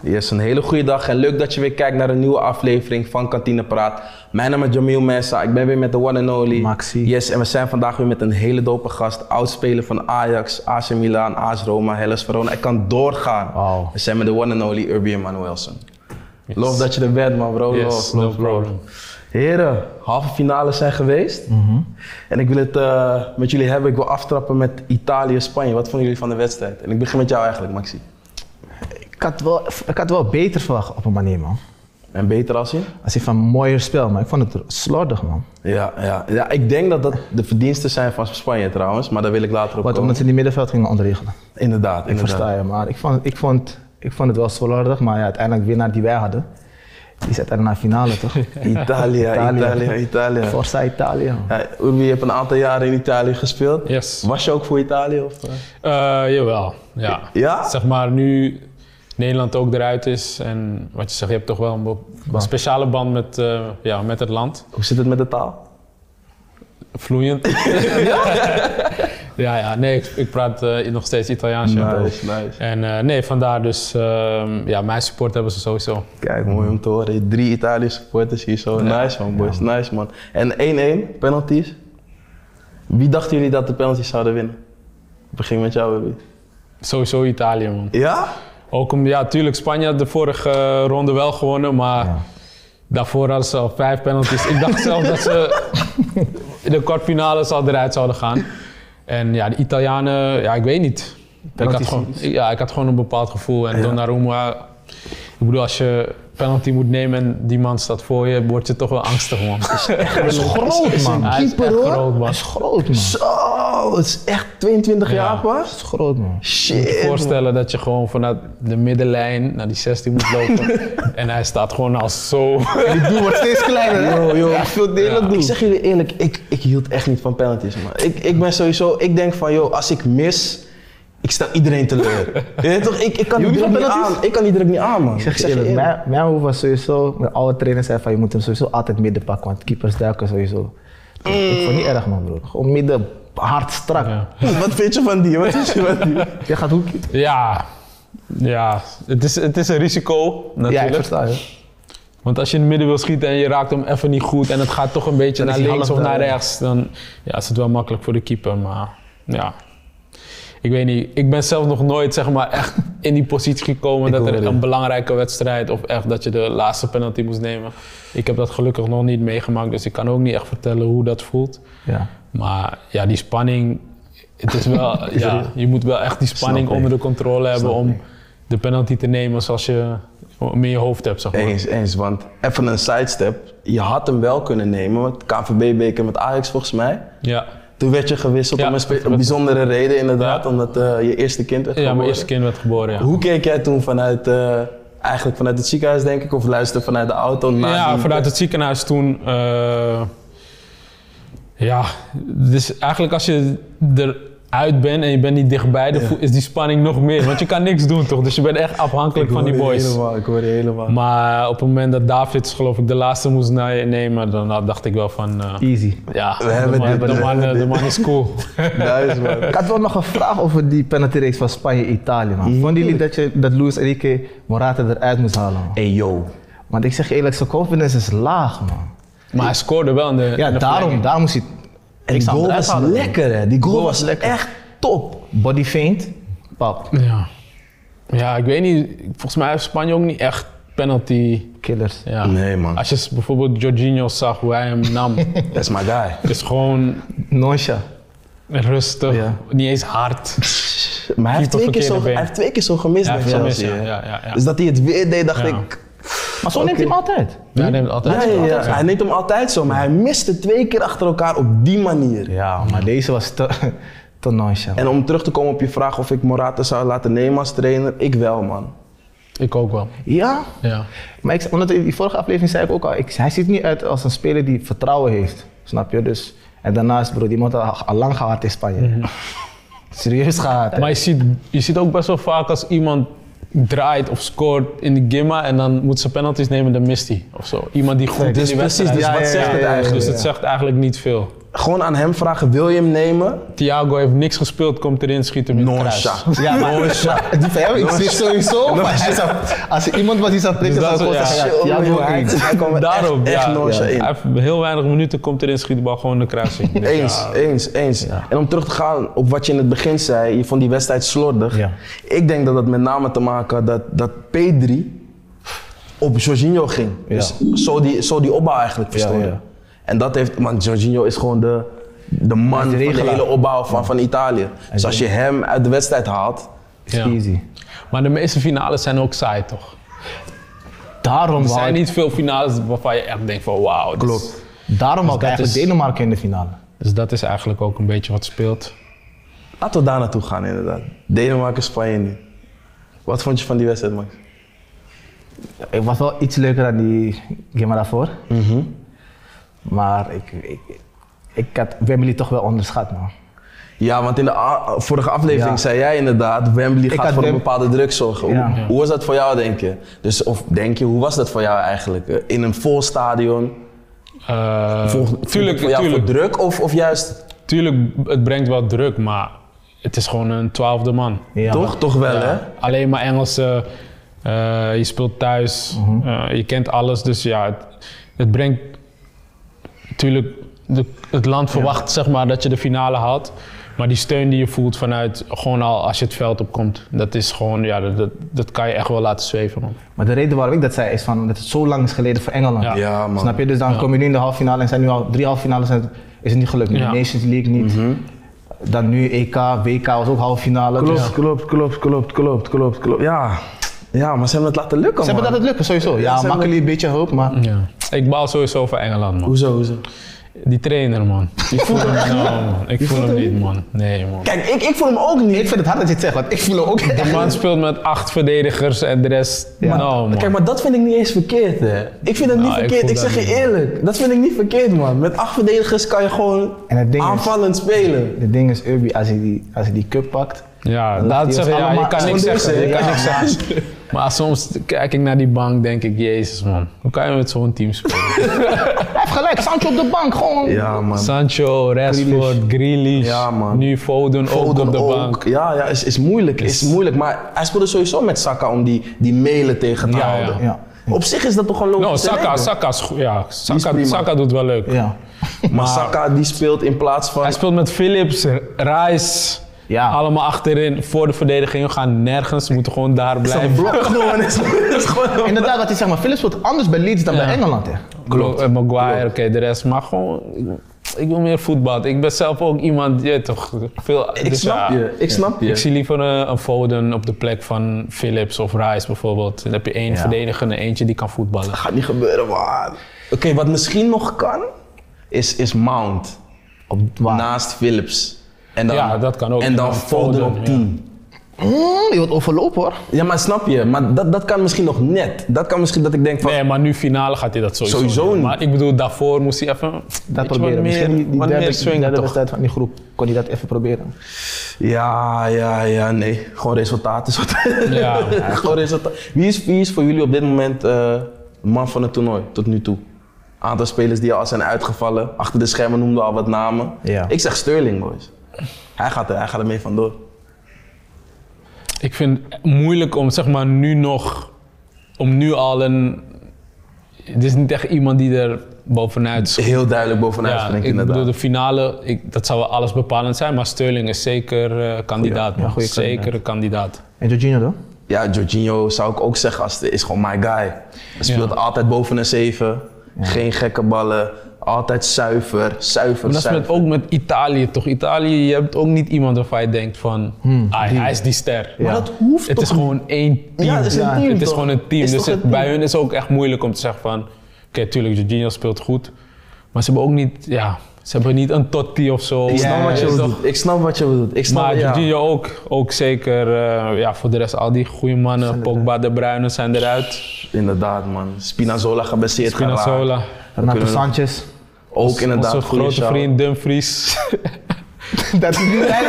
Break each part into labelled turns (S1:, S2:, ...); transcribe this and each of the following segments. S1: Yes, een hele goede dag en leuk dat je weer kijkt naar een nieuwe aflevering van Kantine Praat. Mijn naam is Jamil Mensa, ik ben weer met de one and only.
S2: Maxi.
S1: Yes, en we zijn vandaag weer met een hele dope gast. Oudspeler van Ajax, AC Milan, AS Roma, Hellas Verona. Ik kan doorgaan.
S2: Wauw.
S1: We zijn met de one and only Urbian Manuelsen. Love dat je er bent man bro.
S3: Yes,
S1: Love,
S3: Oh, no
S1: love, love.
S3: problem.
S1: Heren, halve finales zijn geweest.
S2: Mhm.
S1: En ik wil het eh, met jullie hebben. Ik wil aftrappen met Italië, Spanje. Wat vonden jullie van de wedstrijd? En ik begin met jou eigenlijk, Maxi.
S2: Ik had, wel, ik had wel beter verwacht op een manier, man.
S1: En beter als je?
S2: Als je van mooier spel, maar ik vond het slordig, man.
S1: Ja, ja, ja, ik denk dat dat de verdiensten zijn van Spanje trouwens, maar daar wil ik later op
S2: Wat,
S1: komen.
S2: omdat ze die middenveld gingen ontregelen.
S1: Inderdaad,
S2: Ik
S1: inderdaad.
S2: versta je, maar ik vond, ik, vond, ik vond het wel slordig, maar ja, uiteindelijk winnaar die wij hadden, die zit er naar de finale, toch?
S1: Italië, Italië, Italië.
S2: Forza Italië. man.
S1: Ja, Urbi, je hebt een aantal jaren in Italië gespeeld.
S3: Yes.
S1: Was je ook voor Italië? Of, eh?
S3: Eh, jawel, ja.
S1: Ja?
S3: Zeg maar nu Nederland ook eruit is en wat je zegt, je hebt toch wel een be- speciale band met, eh, ja, met het land.
S1: Hoe zit het met de taal?
S3: Vloeiend. ja, ja, nee, ik, ik praat eh, nog steeds Italiaans. ja.
S1: nice.
S3: En eh, nee, vandaar dus, ehm, ja, mijn support hebben ze sowieso.
S1: Kijk, mooi om te horen. Drie Italische supporters hier zo. Nice man, boys. Nice man. En 1-1, penalties. Wie dachten jullie dat de penalties zouden winnen? Ik begin met jou, Urbi.
S3: Sowieso Italië, man.
S1: Ja?
S3: Ook om, ja, tuurlijk, Spanje had de vorige eh, ronde wel gewonnen, maar daarvoor hadden ze al vijf penalties. Ik dacht zelf dat ze in de kwartfinales al eruit zouden gaan. En ja, de Italianen, ja, ik weet niet. Ik had,
S2: Penalties
S3: gewoon, ik- ja, ik had gewoon een bepaald gevoel. En Donnarumma, ik bedoel, als je penalty moet nemen en die man staat voor je, word je toch wel angstig, man.
S2: Hij is groot, man.
S3: Hij is echt groot, man.
S2: Hij is groot, man. Hij
S1: Zo, het is echt 22
S3: Ja.
S1: jaar pas?
S2: is groot, man.
S1: Shit.
S3: voorstellen dat je gewoon vanuit de middenlijn naar die 16 moet lopen. en hij staat gewoon als zo.
S2: Die doel wordt steeds kleiner, hè?
S1: Yo, yo, ik wil het eerlijk
S3: Ja.
S1: doen. Ik zeg jullie eerlijk, ik, ik hield echt niet van penalties, man. Ik, ik ben sowieso, ik denk van, joh, als ik mis, ik stel iedereen teleur. Je weet toch, ik, ik kan die
S2: Jullie
S1: druk
S2: van
S1: niet aan.
S2: penalties?
S1: Ik kan die druk niet aan, man.
S2: Ik zeg je eerlijk, mijn, mijn hoofd was sowieso, mijn oude trainer zei van je moet hem sowieso altijd midden pakken, want keepers duiken sowieso. Dus Ik vond het niet erg man broer, gewoon midden, hard, strak.
S3: Mm. Ja.
S1: Wat vind je van die? Wat vind je van die?
S2: Je gaat hoek.
S3: Ja, ja. Het, is, het is een risico
S2: Ja, ik
S3: natuurlijk.
S2: versta je.
S3: Want als je in het midden wil schieten en je raakt hem even niet goed en het gaat toch een beetje
S2: Dan
S3: naar
S2: is hij
S3: links
S2: half
S3: of naar
S2: daar, ja.
S3: rechts, dan ja, is het wel makkelijk voor de keeper. Maar ja, ik weet niet. Ik ben zelf nog nooit zeg maar, echt in die positie gekomen
S2: Ik
S3: dat
S2: hoor
S3: er
S2: je.
S3: een belangrijke wedstrijd of echt dat je de laatste penalty moest nemen. Ik heb dat gelukkig nog niet meegemaakt, dus ik kan ook niet echt vertellen hoe dat voelt.
S2: Ja.
S3: Maar ja, die spanning, het is wel, ja, je moet wel echt die spanning
S2: Snap ik.
S3: onder de controle hebben
S2: Snap
S3: om
S2: ik.
S3: de penalty te nemen zoals je hem in je hoofd hebt, zeg maar.
S1: Eens, eens, want even een sidestep. Je had hem wel kunnen nemen, want KVB-beker met Ajax volgens mij.
S3: Ja.
S1: Toen werd je gewisseld
S3: Ja,
S1: om een, spe-
S3: dat
S1: een
S3: klopt.
S1: bijzondere reden inderdaad,
S3: Ja.
S1: omdat eh, je eerste kind werd
S3: ja, mijn
S1: geboren.
S3: eerste kind werd geboren, ja.
S1: Hoe keek jij toen vanuit, eh, eigenlijk vanuit het ziekenhuis denk ik, of luister vanuit de auto naar
S3: ja,
S1: die-
S3: vanuit het ziekenhuis toen. eh, ja, dus eigenlijk als je eruit bent en je bent niet dichtbij, dan voel- is die spanning nog meer. Want je kan niks doen toch? Dus je bent echt afhankelijk van die
S1: Ik hoor je
S3: boys.
S1: Helemaal, ik hoor je helemaal.
S3: Maar op het moment dat David, geloof ik, de laatste moest na- nemen, dan nou, dacht ik wel van. eh,
S2: Easy.
S3: ja,
S1: hebben
S3: de, man,
S1: dit,
S3: de,
S1: we
S3: man,
S1: hebben
S3: eh, de man is cool.
S1: Nice, man.
S2: Ik had wel nog een vraag over die penaltyreeks van Spanje-Italië man. Vonden jullie dat, je, dat Luis Enrique Morata eruit moest halen man?
S1: Hey yo.
S2: Want ik zeg je eerlijk, zijn confidence is laag man.
S3: Maar hij scoorde wel in de.
S2: Ja,
S3: in de
S2: daarom,
S3: verlenging.
S2: daarom moest hij...
S1: En
S2: Ik
S1: die
S2: zou
S1: goal
S2: hem eruit
S1: was
S2: halen, man.
S1: lekker, hè? Die goal,
S2: Goal
S1: was,
S2: was lekker.
S1: echt top.
S2: Body faint, pap.
S3: Ja. ja, ik weet niet. Volgens mij heeft Spanje ook niet echt penalty.
S2: Killers.
S3: Ja.
S1: Nee, man.
S3: Als je s- bijvoorbeeld Jorginho zag hoe hij hem nam. Het
S1: That's my guy.
S3: is gewoon
S2: Noncha.
S3: rustig,
S2: Ja.
S3: niet eens hard.
S1: Maar hij heeft, twee keer
S3: verkeerde
S1: zo,
S3: been.
S1: hij heeft twee keer zo gemist
S3: Ja,
S1: bij
S3: hij heeft
S1: Chelsea.
S3: gemist, ja,
S1: hè?
S3: ja, ja, ja.
S1: Dus dat hij het weer deed, dacht
S3: Ja.
S1: ik...
S2: Maar zo neemt hij hem altijd.
S3: Ja, hij neemt altijd.
S1: Ja, ja, ja.
S3: Ja.
S1: Hij neemt hem altijd zo, maar hij miste twee keer achter elkaar op die manier.
S2: Ja, maar deze was te, te nonchalant.
S1: En om terug te komen op je vraag of ik Morata zou laten nemen als trainer, ik wel, man.
S3: Ik ook wel.
S2: Ja,
S3: Ja.
S2: maar ik, omdat in die vorige aflevering zei ik ook al, ik, hij ziet niet uit als een speler die vertrouwen heeft. Snap je? Dus, en daarnaast, bro, die man had al lang gehad in Spanje. Serieus gehad. hè.
S3: Maar je ziet, je ziet ook best wel vaak als iemand draait of scoort in de gimma en dan moet ze penalties nemen, dan mist hij of zo. Iemand die goed
S2: Dus
S3: in die
S1: precies,
S3: wedstrijd
S1: dus
S3: is.
S1: wat zegt het eigenlijk,
S3: Dus het
S1: ja.
S3: zegt eigenlijk niet veel.
S1: gewoon aan hem vragen, wil je hem nemen?
S3: Thiago heeft niks gespeeld, komt erin, schiet hem in het kruis.
S1: Nonsha.
S2: Ja, maar die van hem, ik zie sowieso. maar hij zou- als er iemand was die zou prikken,
S3: Dus
S2: zou ik
S3: dat
S2: gewoon
S3: is- ja.
S2: zeggen, ja, doe
S1: hij,
S2: maar niet.
S1: hij kwam er
S3: Daarom,
S1: echt, echt
S3: ja,
S1: Nonsha
S3: ja.
S1: in.
S3: Hij heeft heel weinig minuten, komt erin, schiet de bal gewoon in de kruis. in. Dus
S1: Eens, eens, eens. En om terug te gaan op wat je in het begin zei, je vond die wedstrijd slordig.
S2: Ja.
S1: Ik denk dat dat met name te maken had dat, dat P3 op Jorginho ging. Dus zo die, zo die opbouw eigenlijk verstoorde.
S2: ja.
S1: En dat heeft, want Jorginho is gewoon de, de man
S2: Hij is
S1: van
S2: de
S1: de
S2: regelaar.
S1: hele opbouw van, van Italië. Dus als je hem uit de wedstrijd haalt,
S3: Ja.
S2: Easy.
S3: Maar de meeste finales zijn ook saai, toch?
S2: Daarom
S3: Er zijn
S2: wou ik,
S3: niet veel finales waarvan je echt denkt van wauw. dit is-
S1: Klopt.
S2: daarom wou ik
S3: dat
S2: eigenlijk
S3: is-
S2: Denemarken in de finale.
S3: Dus dat is eigenlijk ook een beetje wat speelt.
S1: laten we daar naartoe gaan inderdaad. Denemarken, Spanje nu. Wat vond je van die wedstrijd, Max?
S2: Ik was wel iets leuker dan die game daarvoor. Maar ik, ik, ik had Wembley toch wel onderschat, man.
S1: Ja, want in de a- vorige aflevering
S2: Ja.
S1: zei jij inderdaad, Wembley gaat
S2: had
S1: voor een
S2: Wem-
S1: bepaalde druk zorgen.
S2: Ja.
S1: Hoe,
S2: Ja.
S1: hoe was dat voor jou, denk je? Dus, of denk je, hoe was dat voor jou eigenlijk? Eh, In een vol stadion?
S3: Eh,
S1: Volg- voelde
S3: tuurlijk,
S1: het voor jou
S3: tuurlijk,
S1: voor druk of, of juist
S3: tuurlijk, het brengt wel druk, maar het is gewoon een twaalfde man.
S2: Ja,
S1: toch?
S2: maar-
S1: Toch wel, hè?
S3: Alleen maar Engelsen, eh, je speelt thuis, eh, je kent alles, dus ja, het, het brengt natuurlijk, de- het land verwacht zeg maar dat je de finale haalt. Maar die steun die je voelt vanuit, gewoon al als je het veld opkomt, dat is gewoon, ja, dat, dat, dat kan je echt wel laten zweven, man.
S2: Maar de reden waarom ik dat zei is van, dat het zo lang is geleden voor Engeland.
S3: Ja.
S1: Ja, man.
S2: Snap je? Dus dan kom je nu in de halve finale en zijn nu al drie halve finales en is het niet gelukt. Nu
S3: Ja.
S2: De Nations League niet. Dan nu E EK, WK was ook halve finale.
S1: Mhm. Klopt,
S2: Dus
S1: klopt, klopt, klopt, klopt, klopt, klopt. Ja. ja, maar ze hebben het laten lukken,
S2: Ze hebben
S1: man.
S2: dat het lukken, sowieso.
S1: ze
S2: Ja,
S1: hebben- Mhm.
S2: makkelijk een beetje hulp, maar
S3: Ja. Ik baal sowieso voor Engeland, man.
S1: Hoezo, hoezo?
S3: Die trainer, man. Ik voel hem, nou, man. Ik voel hem niet, man. Nee, man.
S1: Kijk, ik, ik voel hem ook niet.
S2: ik vind het hard dat je het zegt, want ik voel hem ook
S3: De man speelt met acht verdedigers en de rest.
S2: Ja.
S3: Nou, man.
S1: Kijk, maar dat vind ik niet eens verkeerd, hè. Ik vind dat niet
S3: Nou, ik
S1: verkeerd, ik,
S3: voel dat
S1: zeg je
S3: niet, man.
S1: eerlijk. Dat vind ik niet verkeerd, man. Met acht verdedigers kan je gewoon
S2: En het ding is-
S1: aanvallend spelen.
S2: Het ding is, Urbi, als hij die, als hij die cup pakt,
S3: ja,
S2: laat
S3: dat
S2: die
S3: zeg
S2: ons
S3: ja, je
S2: allemaal-
S3: kan niks
S1: Gewoon
S3: zeggen. Je
S1: deze,
S3: kan
S1: ja,
S3: niks zeggen. Maar soms kijk ik naar die bank, denk ik, jezus, man. Hoe kan je met zo'n team spelen?
S2: hij heeft gelijk, Sancho op de bank, gewoon.
S1: Ja, man.
S3: Sancho, Rashford, Grealish.
S1: Ja, man.
S3: Nu Foden, ook
S1: Foden
S3: op de
S1: ook.
S3: bank.
S1: Ja, ja is, is moeilijk. Is moeilijk. Maar hij speelde sowieso met Saka om die, die melen tegen te
S3: Ja, ja.
S1: houden.
S2: Ja.
S1: Op zich is dat toch gewoon logisch.
S3: Nou,
S1: te
S3: Saka,
S1: rekenen.
S3: Saka, is goed. ja, Saka,
S1: prima.
S3: Saka doet wel leuk.
S2: Ja.
S1: Maar Saka die speelt in plaats van.
S3: Hij speelt met Philips, Rice.
S2: Ja.
S3: Allemaal achterin voor de verdediging. We gaan nergens. We moeten gewoon daar
S1: Is dat
S3: blijven.
S1: blok gewoon. Is, is gewoon
S2: Inderdaad, wat hij zegt, maar Philips speelt anders bij Leeds dan
S3: Ja.
S2: bij Engeland, hè.
S3: Klopt. En eh, Maguire, oké, de rest. Maar gewoon, ik- ik wil meer voetbal. Ik ben zelf ook iemand, je weet toch, veel...
S1: ik
S3: dus
S1: snap
S3: ja,
S1: je. Ik snap je.
S3: Ik zie liever eh, een Foden op de plek van Philips of Rice bijvoorbeeld. Dan heb je één verdediger en eentje die kan voetballen.
S1: gaat niet gebeuren, man. Oké, wat misschien nog kan, is, is Mount.
S2: Op waar?
S1: Naast Philips. En dan,
S3: Ja, dat kan ook.
S1: En dan Foden op
S3: ja.
S1: 10.
S2: Mm, je wordt overlopen, hoor.
S1: Ja. maar snap je? Maar dat, dat kan misschien nog net. Dat kan misschien dat ik denk van.
S3: Nee, maar nu finale gaat hij dat sowieso,
S1: Sowieso
S3: doen.
S1: niet.
S3: Maar ik bedoel, daarvoor moest hij even
S2: Dat
S3: weet je,
S2: proberen.
S3: wat meer,
S2: Misschien die, die
S3: wat meer
S2: derde, die
S3: swingen
S2: derde
S3: toch.
S2: wedstrijd van die groep, kon hij dat even proberen.
S1: Ja, ja, ja, nee. Gewoon resultaat is wat.
S3: Ja.
S1: Gewoon resultaat. Wie is, wie is voor jullie op dit moment eh, man van het toernooi tot nu toe? Aantal spelers die al zijn uitgevallen. Achter de schermen noemden we al wat namen.
S2: Ja.
S1: Ik zeg Sterling, boys. Hij gaat, er, hij gaat ermee vandoor.
S3: Ik vind het moeilijk om zeg maar nu nog, om nu al een... Het is niet echt iemand die er bovenuit schiet.
S1: Heel duidelijk bovenuit
S3: Ja,
S1: springt,
S3: ik
S1: inderdaad.
S3: bedoel, de finale, ik, dat zou wel alles bepalend zijn, maar Sterling is zeker eh, kandidaat. man.
S2: goeie
S3: zeker een kandidaat.
S2: En Jorginho dan?
S1: Ja, Jorginho zou ik ook zeggen, als, is gewoon my guy. Hij speelt
S3: Ja.
S1: altijd boven een 7. Geen gekke ballen. Altijd zuiver, zuiver,
S3: Maar dat is
S1: zuiver.
S3: met, ook met Italië toch? Italië, je hebt ook niet iemand waarvan je denkt van, "Ah, hij is die ster.
S1: Hmm. Maar dat hoeft
S3: Het
S1: toch
S3: is gewoon één team.
S1: Ja, het is een team,
S3: Het is
S1: toch?
S3: gewoon een team.
S1: Is
S3: dus
S1: toch
S3: het-
S1: een team?
S3: bij hun is het ook echt moeilijk om te zeggen van, oké, tuurlijk, Jorginho speelt goed, maar ze hebben ook niet, ja, ze hebben niet een Totti of zo.
S1: Ik snap
S3: Ja,
S1: wat je
S3: is toch-
S1: bedoelt. Ik snap wat je bedoelt. Ik snap,
S3: Maar
S1: ja.
S3: Jorginho ook, ook zeker. eh, ja, voor de rest, al die goede mannen. Pogba, De Bruyne zijn eruit.
S1: Inderdaad, man. Spinazzola geblesseerd geraakt.
S3: Spinazzola.
S2: Renato
S1: kunnen we-
S2: Sanchez.
S1: Ook inderdaad.
S3: Onze
S1: goede
S3: grote
S1: shout.
S3: vriend Dumfries.
S2: dat is niet mijn,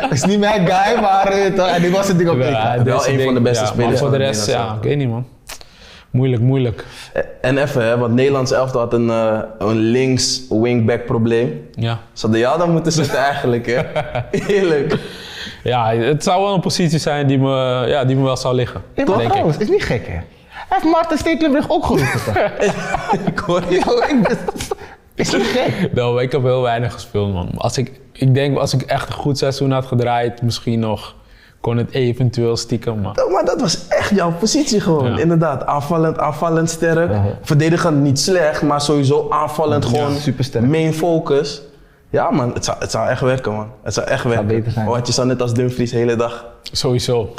S2: dat is niet mijn guy, maar eh, toch, en ik was het ding op
S3: Ja,
S2: EK.
S3: deze
S1: wel een van
S3: ding-
S1: de beste
S3: ja,
S1: spelers
S3: Maar voor
S1: van
S3: de
S1: de
S3: rest, ja,
S1: Nederlandse
S3: ik weet niet man. Moeilijk, moeilijk.
S1: Eh, En even, hè, want Nederlands elftal had een, eh, een links wingback probleem.
S3: Ja.
S1: Ze hadden jou dan moeten zitten eigenlijk, hè? Eerlijk.
S3: ja, het zou wel een positie zijn die me, ja, die me wel zou liggen.
S2: Hey, maar
S3: denk ik.
S2: trouwens, is niet gek hè? Hij heeft Maarten Stekelenburg ook geroepen. toch?
S1: Ik hoor je.
S2: Ja, ik ben- is niet gek?
S3: No, ik heb heel weinig gespeeld, man. Als ik, ik denk, als ik echt een goed seizoen had gedraaid, misschien nog kon het eventueel stiekem. Maar
S1: Oh, Maar dat was echt jouw positie gewoon.
S3: Ja. Uh-huh.
S1: Inderdaad, aanvallend, aanvallend sterk. Verdedigend niet slecht, maar sowieso aanvallend gewoon.
S2: supersterk.
S1: Main focus. Ja man, het zou, het zou echt werken man. Het zou echt werken.
S2: beter zijn.
S1: Want je zou net als Dumfries de hele dag...
S3: sowieso. ik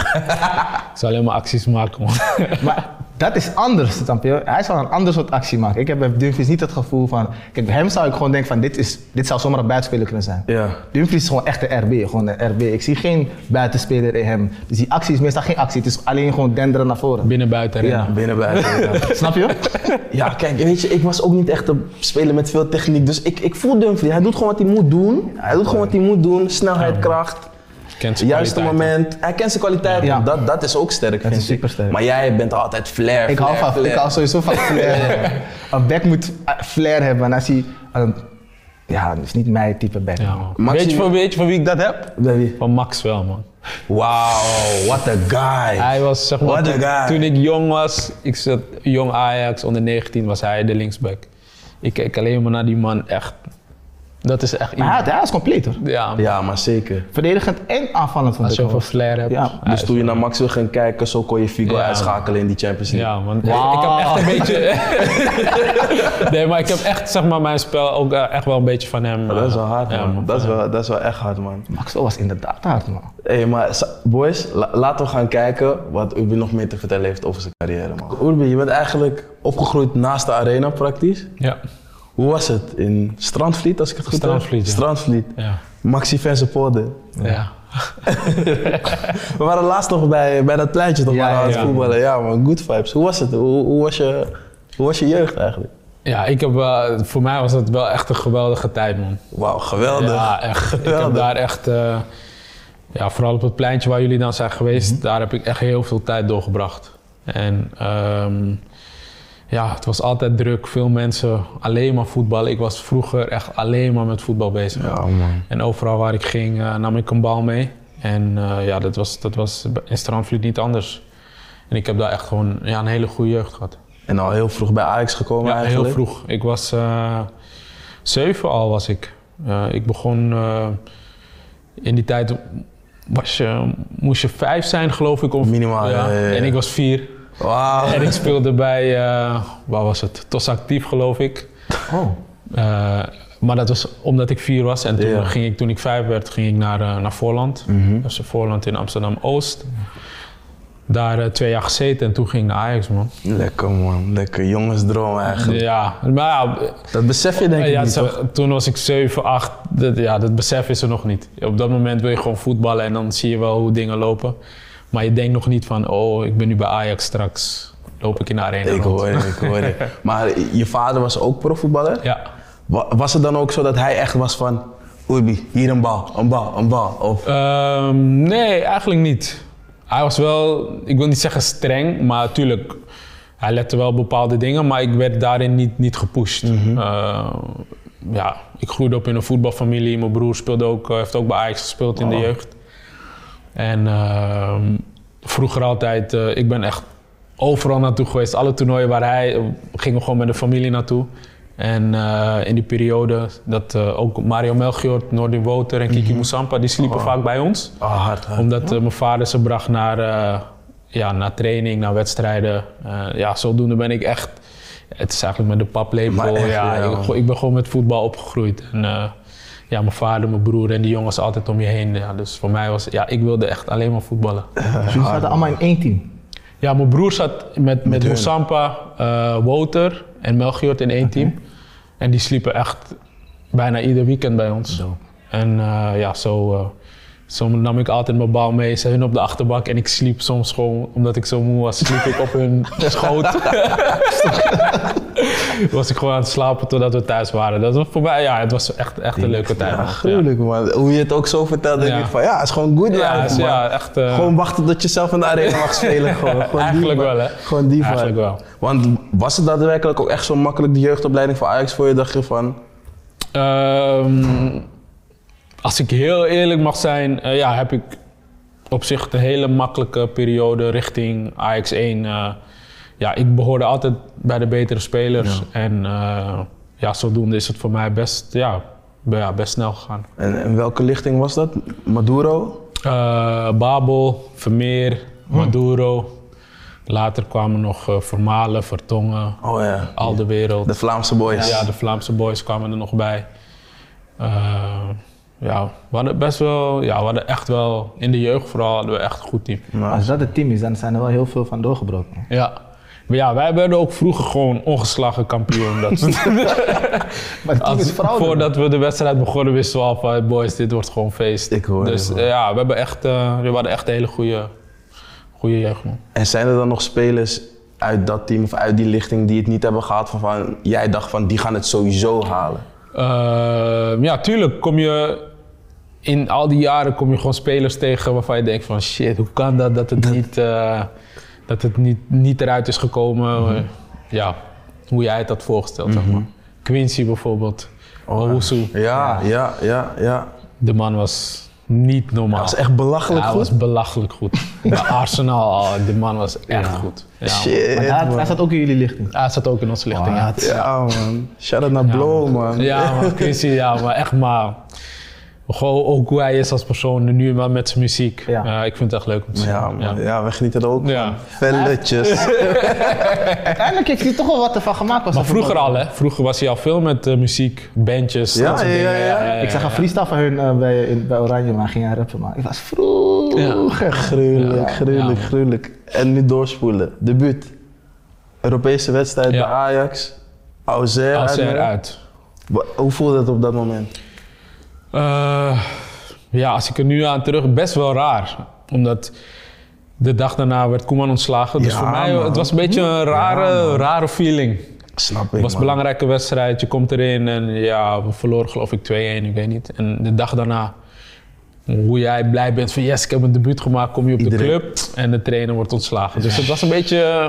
S3: zou alleen maar acties maken, man.
S2: Maar dat is anders, snap je? Hij zal een ander soort actie maken. Ik heb bij Dumfries niet het gevoel van... Kijk, bij hem zou ik gewoon denken van dit, is, dit zou zomaar een buitenspeler kunnen zijn.
S1: Ja.
S2: Dumfries is gewoon echt een RB, gewoon een RB. Ik zie geen buitenspeler in hem. Dus die actie is meestal geen actie, het is alleen gewoon denderen naar voren.
S3: Binnen, buiten, rennen.
S2: Ja.
S1: Binnen buiten. ja.
S2: Snap je?
S1: Ja, kijk, weet je, ik was ook niet echt een speler met veel techniek. Dus ik, ik voel Dumfries. Hij doet gewoon wat hij moet doen. Hij doet gewoon wat hij moet doen. Snelheid, kracht.
S3: Kent
S1: Het
S3: zijn
S1: juiste
S3: kwaliteiten.
S1: moment. Hij kent zijn kwaliteiten.
S2: Ja.
S1: Dat, dat is ook sterk, vind
S2: is
S1: ik.
S2: supersterk.
S1: Maar jij bent altijd flair,
S2: Ik hou
S1: flair,
S2: van, ik
S1: flair.
S2: hou sowieso van flair. Een back moet eh, flair hebben. En als hij... een- ja, dat is niet mijn type back.
S3: Ja, man.
S1: Maxi-
S3: Weet, je van, weet je van wie ik dat heb?
S1: Bij wie?
S3: Van Max wel, man.
S1: Wauw, what a guy.
S3: Hij was, zeg maar,
S1: What a
S3: toen,
S1: guy.
S3: toen ik jong was, ik zat jong Ajax, onder 19 was hij de linksback. Ik keek alleen maar naar die man, echt. Dat is echt
S2: Maar
S3: iemand.
S2: hij, hij is compleet hoor.
S3: Ja,
S1: Ja, maar zeker.
S2: Verdedigend en aanvallend vond
S3: als
S2: ik
S3: je
S2: wel.
S3: over flair hebt.
S2: Ja,
S3: hij
S1: Dus
S3: is-
S1: toen je naar Max wil gaan kijken, zo kon je Figo
S3: Ja.
S1: uitschakelen in die Champions League.
S3: Ja, want
S2: Wauw.
S3: ik heb echt een beetje. nee, maar ik heb echt zeg maar, mijn spel ook eh, echt wel een beetje van hem.
S1: Maar dat is wel
S3: eh,
S1: hard,
S3: ja,
S1: man. Dat is wel, dat is wel echt hard, man.
S2: Maxwell was inderdaad hard man.
S1: Hé, hey, maar sa- boys, la- laten we gaan kijken wat Urbi nog meer te vertellen heeft over zijn carrière, man. Urbi, je bent eigenlijk opgegroeid naast de arena praktisch.
S3: Ja,
S1: Hoe was het? In Strandvliet, als ik het goed heb?
S3: Strandvliet, ja.
S1: Strandvliet.
S3: ja,
S1: Maxi fan supporter.
S3: ja.
S1: We waren laatst nog bij, bij dat pleintje toch
S2: Ja,
S1: waren we aan het
S3: ja.
S1: voetballen. Ja man, good vibes. Hoe was het? Hoe, hoe, was, je, hoe was je jeugd eigenlijk?
S3: Ja, ik heb, eh, voor mij was dat wel echt een geweldige tijd, man.
S1: Wauw, geweldig.
S3: Ja, echt. Ik heb
S1: Geweldig.
S3: daar echt, eh, ja, vooral op het pleintje waar jullie dan zijn geweest,
S1: Mhm.
S3: daar heb ik echt heel veel tijd doorgebracht. En ehm, ja, het was altijd druk, veel mensen, alleen maar voetballen. Ik was vroeger echt alleen maar met voetbal bezig.
S1: Ja man.
S3: En overal waar ik ging eh, nam ik een bal mee. En eh, ja, dat was, dat was in Strandvliet niet anders. En ik heb daar echt gewoon ja, een hele goede jeugd gehad.
S1: En al heel vroeg bij Ajax gekomen
S3: Ja,
S1: eigenlijk.
S3: heel vroeg. Ik was eh, zeven al was ik. Eh, ik begon eh, in die tijd was je, moest je vijf zijn geloof ik. Of,
S1: Minimaal, ja, ja, ja.
S3: En ik was vier.
S1: Wauw.
S3: En ik speelde bij, eh, waar was het? Tos Actief geloof ik.
S2: Oh.
S3: Eh, maar dat was omdat ik vier was. En toen,
S1: Ja. Mhm.
S3: ging ik, toen ik vijf werd, ging ik naar, eh, naar Voorland. Dat is een Voorland in Amsterdam-Oost. Daar eh, twee jaar gezeten en toen ging ik naar Ajax, man.
S1: Lekker man, lekker jongensdroom eigenlijk.
S3: Ja, maar ja, eh,
S1: Dat besef je denk ik
S3: ja,
S1: niet
S3: zo-
S1: toch?
S3: toen was ik 7, 8. Dat, ja, dat besef is er nog niet. Op dat moment wil je gewoon voetballen en dan zie je wel hoe dingen lopen. Maar je denkt nog niet van, oh, ik ben nu bij Ajax straks. Loop ik in de arena
S1: Ik
S3: rond.
S1: hoor je, ik hoor je. Maar je vader was ook profvoetballer?
S3: Ja.
S1: Wa- Was het dan ook zo dat hij echt was van, Urbi, hier een bal, een bal, een bal? Of,
S3: Ehm, nee, eigenlijk niet. Hij was wel, ik wil niet zeggen streng, maar natuurlijk, hij lette wel op bepaalde dingen, maar ik werd daarin niet, niet gepusht.
S1: Mhm.
S3: Eh, ja, ik groeide op in een voetbalfamilie. Mijn broer speelde ook, eh, heeft ook bij Ajax gespeeld
S1: Oh.
S3: in de jeugd. En ehm, vroeger altijd, eh, ik ben echt overal naartoe geweest. Alle toernooien waar hij, eh, gingen we gewoon met de familie naartoe. En eh, in die periode dat eh, ook Mario Melchior, Noordin Woter en Kiki Moussampa, die sliepen vaak bij ons.
S1: ah, hard, hard.
S3: Omdat eh, mijn vader ze bracht naar, eh, ja, naar training, naar wedstrijden. Eh, ja, zodoende ben ik echt... Het is eigenlijk met de
S1: Maar
S3: paplepel.
S1: echt,
S3: ja,
S1: ja,
S3: ik,
S1: man.
S3: ik ben gewoon met voetbal opgegroeid. En, eh, ja, mijn vader, mijn broer en die jongens altijd om je heen. Ja, dus voor mij was... Ja, ik wilde echt alleen maar voetballen.
S2: Dus jullie zaten allemaal in één team.
S3: Ja, mijn broer zat met, met
S1: hun.
S3: Moussampa, eh, Wouter en Melchior in één team. En die sliepen echt bijna ieder weekend bij ons. En eh, ja, zo, eh, zo nam ik altijd mijn bal mee. Ze hun op de achterbak en ik sliep soms gewoon, omdat ik zo moe was, sliep ik op hun schoot. was ik gewoon aan het slapen totdat we thuis waren. Dat was voorbij. Ja, het was echt, echt een leuke tijd.
S1: Ja,
S3: man.
S1: gruwelijk man. Hoe je het ook zo vertelt, denk
S3: Ja.
S1: ik van ja, het is gewoon good
S3: Ja,
S1: life
S3: is-
S1: man.
S3: ja, echt. eh,
S1: Gewoon wachten tot je zelf in de arena mag spelen. Gewoon. Gewoon die,
S3: Eigenlijk
S1: man.
S3: wel, hè?
S1: Gewoon die vibe.
S3: Eigenlijk wel.
S1: Want was het daadwerkelijk ook echt zo makkelijk de jeugdopleiding voor Ajax voor je? Dacht je van,
S3: Ehm, als ik heel eerlijk mag zijn, eh, ja, heb ik op zich een hele makkelijke periode richting Ajax 1. eh, ja, ik behoorde altijd bij de betere spelers. En eh, ja, zodoende is het voor mij best, ja, be- ja, best snel gegaan.
S1: en, en welke lichting was dat? Maduro?
S3: Eh, Babel, Vermeer, Maduro. Later kwamen nog eh, Vermalen, Vertongen,
S1: Oh ja,
S3: Al de Wereld.
S1: de Vlaamse boys.
S3: Ja, de Vlaamse boys kwamen er nog bij. Eh, ja, we hadden best wel, ja, we hadden echt wel, in de jeugd vooral hadden we echt een goed team.
S2: Als dat het team is, dan zijn er wel heel veel van doorgebroken. man.
S3: Ja. Maar ja, wij werden ook vroeger gewoon ongeslagen kampioen. Dat
S2: Maar het team
S3: als,
S2: is fraude.
S3: voordat we de wedstrijd begonnen wisten we al van, "Hey, boys, dit wordt gewoon feest.
S1: Ik hoor je
S3: dus
S1: wel.
S3: eh, ja, we, hebben echt, eh, we hadden echt een hele goede, goede jeugd, man.
S1: En zijn er dan nog spelers uit dat team of uit die lichting die het niet hebben gehad van, van jij dacht van die gaan het sowieso halen?
S3: Ehm, ja, tuurlijk kom je in al die jaren kom je gewoon spelers tegen waarvan je denkt van shit, hoe kan dat dat het niet, eh, dat het niet, niet eruit is gekomen?
S1: Mhm.
S3: Ja, hoe jij het had voorgesteld, zeg maar. Quincy bijvoorbeeld, Owusu,
S1: Oh, Ja, ja, ja, ja.
S3: de man was niet normaal.
S1: Dat was echt belachelijk
S3: Hij
S1: goed.
S3: was belachelijk goed. Bij Arsenal, al, de man was echt
S2: Ja.
S3: goed. Ja,
S1: Shit. Oh,
S2: Maar daar, daar staat ook in jullie lichting.
S3: Hij zat ook in onze lichting. ja.
S1: Ja, man. Shout out naar Blow, man.
S3: Ja, maar Quincy, ja, maar echt maar. Gewoon ook hoe hij is als persoon, nu maar met zijn muziek.
S2: Ja.
S3: Eh, ik vind het echt leuk om te zien.
S1: Ja, man. Ja, we genieten er ook
S3: Ja.
S1: van. Velletjes.
S2: Uiteindelijk heeft hij toch wel wat ervan gemaakt. Was
S3: Maar
S2: dat
S3: vroeger
S2: voetbal.
S3: al, hè? Vroeger was hij al veel met eh, muziek, bandjes,
S1: Ja,
S3: dat soort
S1: ja,
S3: dingen.
S1: ja, ja.
S2: Ik zag een freestyle van hun eh, bij, in, bij Oranje, maar ging hij rappen. Maar ik was vroeger.
S1: Gruwelijk,
S3: Ja.
S1: gruwelijk,
S3: Ja.
S1: gruwelijk. En nu doorspoelen. Debuut. Europese wedstrijd
S3: Ja.
S1: bij Ajax. Auxerre.
S3: Als hij
S1: uit.
S3: eruit.
S1: Wa- Hoe voelde het op dat moment?
S3: Eh, ja, als ik er nu aan terug, best wel raar. Omdat de dag daarna werd Koeman ontslagen. Dus
S1: Ja,
S3: voor mij,
S1: man.
S3: het was een beetje een rare, rare feeling.
S1: Snap ik,
S3: Het was
S1: man.
S3: een belangrijke wedstrijd. Je komt erin en ja, we verloren geloof ik 2-1, ik weet niet. En de dag daarna, hoe jij blij bent van yes, ik heb een debuut gemaakt, kom je op
S1: Iedereen.
S3: de club en de trainer wordt ontslagen. Dus het was een beetje eh,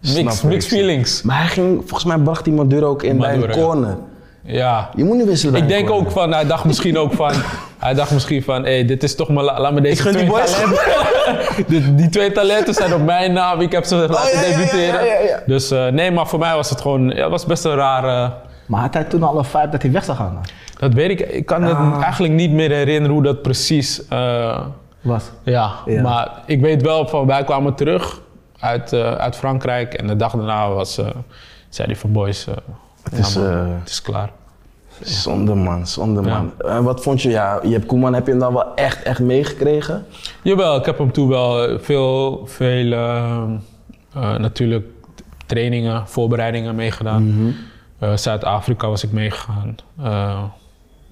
S3: mixed,
S1: ik,
S3: mixed
S1: snap.
S3: feelings.
S1: Maar hij ging, volgens mij bracht die Maduro ook in bij een
S3: Maduro, ja.
S1: corner.
S3: Ja.
S1: Je moet niet wisselen bij
S3: Ik
S1: een
S3: denk
S1: corner.
S3: ook van, hij dacht misschien ook van, hij dacht misschien van, hé, dit is toch maar, la- laat me deze
S1: gun die
S3: twee
S1: boys.
S3: talenten- die, die twee talenten zijn op mijn naam, ik heb ze laten
S1: Oh, ja, ja, ja,
S3: debuteren.
S1: ja, ja, ja.
S3: Dus eh, nee, maar voor mij was het gewoon, ja, het was best een rare...
S2: Maar had hij toen al een vibe dat hij weg zou gaan? dan?
S3: Dat weet ik. Ik kan
S1: Ah.
S3: het eigenlijk niet meer herinneren hoe dat precies. eh,
S2: Was.
S3: ja.
S2: Ja.
S3: maar ik weet wel van wij kwamen terug uit, eh, uit Frankrijk en de dag daarna was, eh, zei hij van boys, eh,
S1: Het is,
S3: ja, man,
S1: eh,
S3: het is klaar.
S1: Zonde man, zonde
S3: Ja.
S1: man. En wat vond je, ja, je hebt Koeman, heb je hem dan wel echt, echt meegekregen?
S3: Jawel, ik heb hem toen wel eh, veel, veel eh, eh, natuurlijk trainingen, voorbereidingen meegedaan.
S1: Mhm.
S3: Eh, Zuid-Afrika was ik meegegaan. Eh,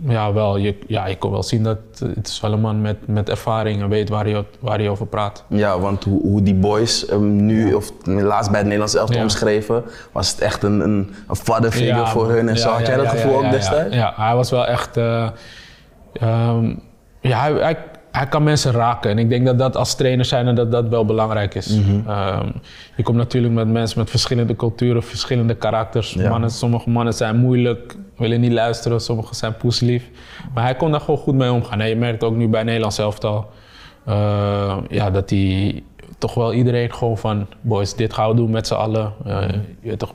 S3: ja, wel, je, ja, ik kon wel zien dat eh, het is wel een man met, met ervaring en weet waar hij, waar hij over praat.
S1: Ja, want hoe, hoe die boys hem nu, of laatst bij het Nederlands elftal
S3: Ja.
S1: omschreven, was het echt een, een, een father figure
S3: Ja,
S1: voor
S3: man.
S1: hun en
S3: Ja,
S1: zo. Had
S3: ja,
S1: jij dat
S3: ja,
S1: gevoel
S3: ja,
S1: ook
S3: ja,
S1: destijds?
S3: Ja, Ja, hij was wel echt. eh, ehm, ja, hij, hij, hij kan mensen raken. En ik denk dat dat als trainer zijn dat dat wel belangrijk is. Ehm, je komt natuurlijk met mensen met verschillende culturen, verschillende karakters.
S1: Ja.
S3: Mannen, sommige mannen zijn moeilijk, willen niet luisteren, sommigen zijn poeslief. Maar hij kon daar gewoon goed mee omgaan. En je merkt ook nu bij Nederlands elftal eh, ja, dat hij toch wel iedereen gewoon van boys, dit gaan we doen met z'n allen. Eh, je weet toch,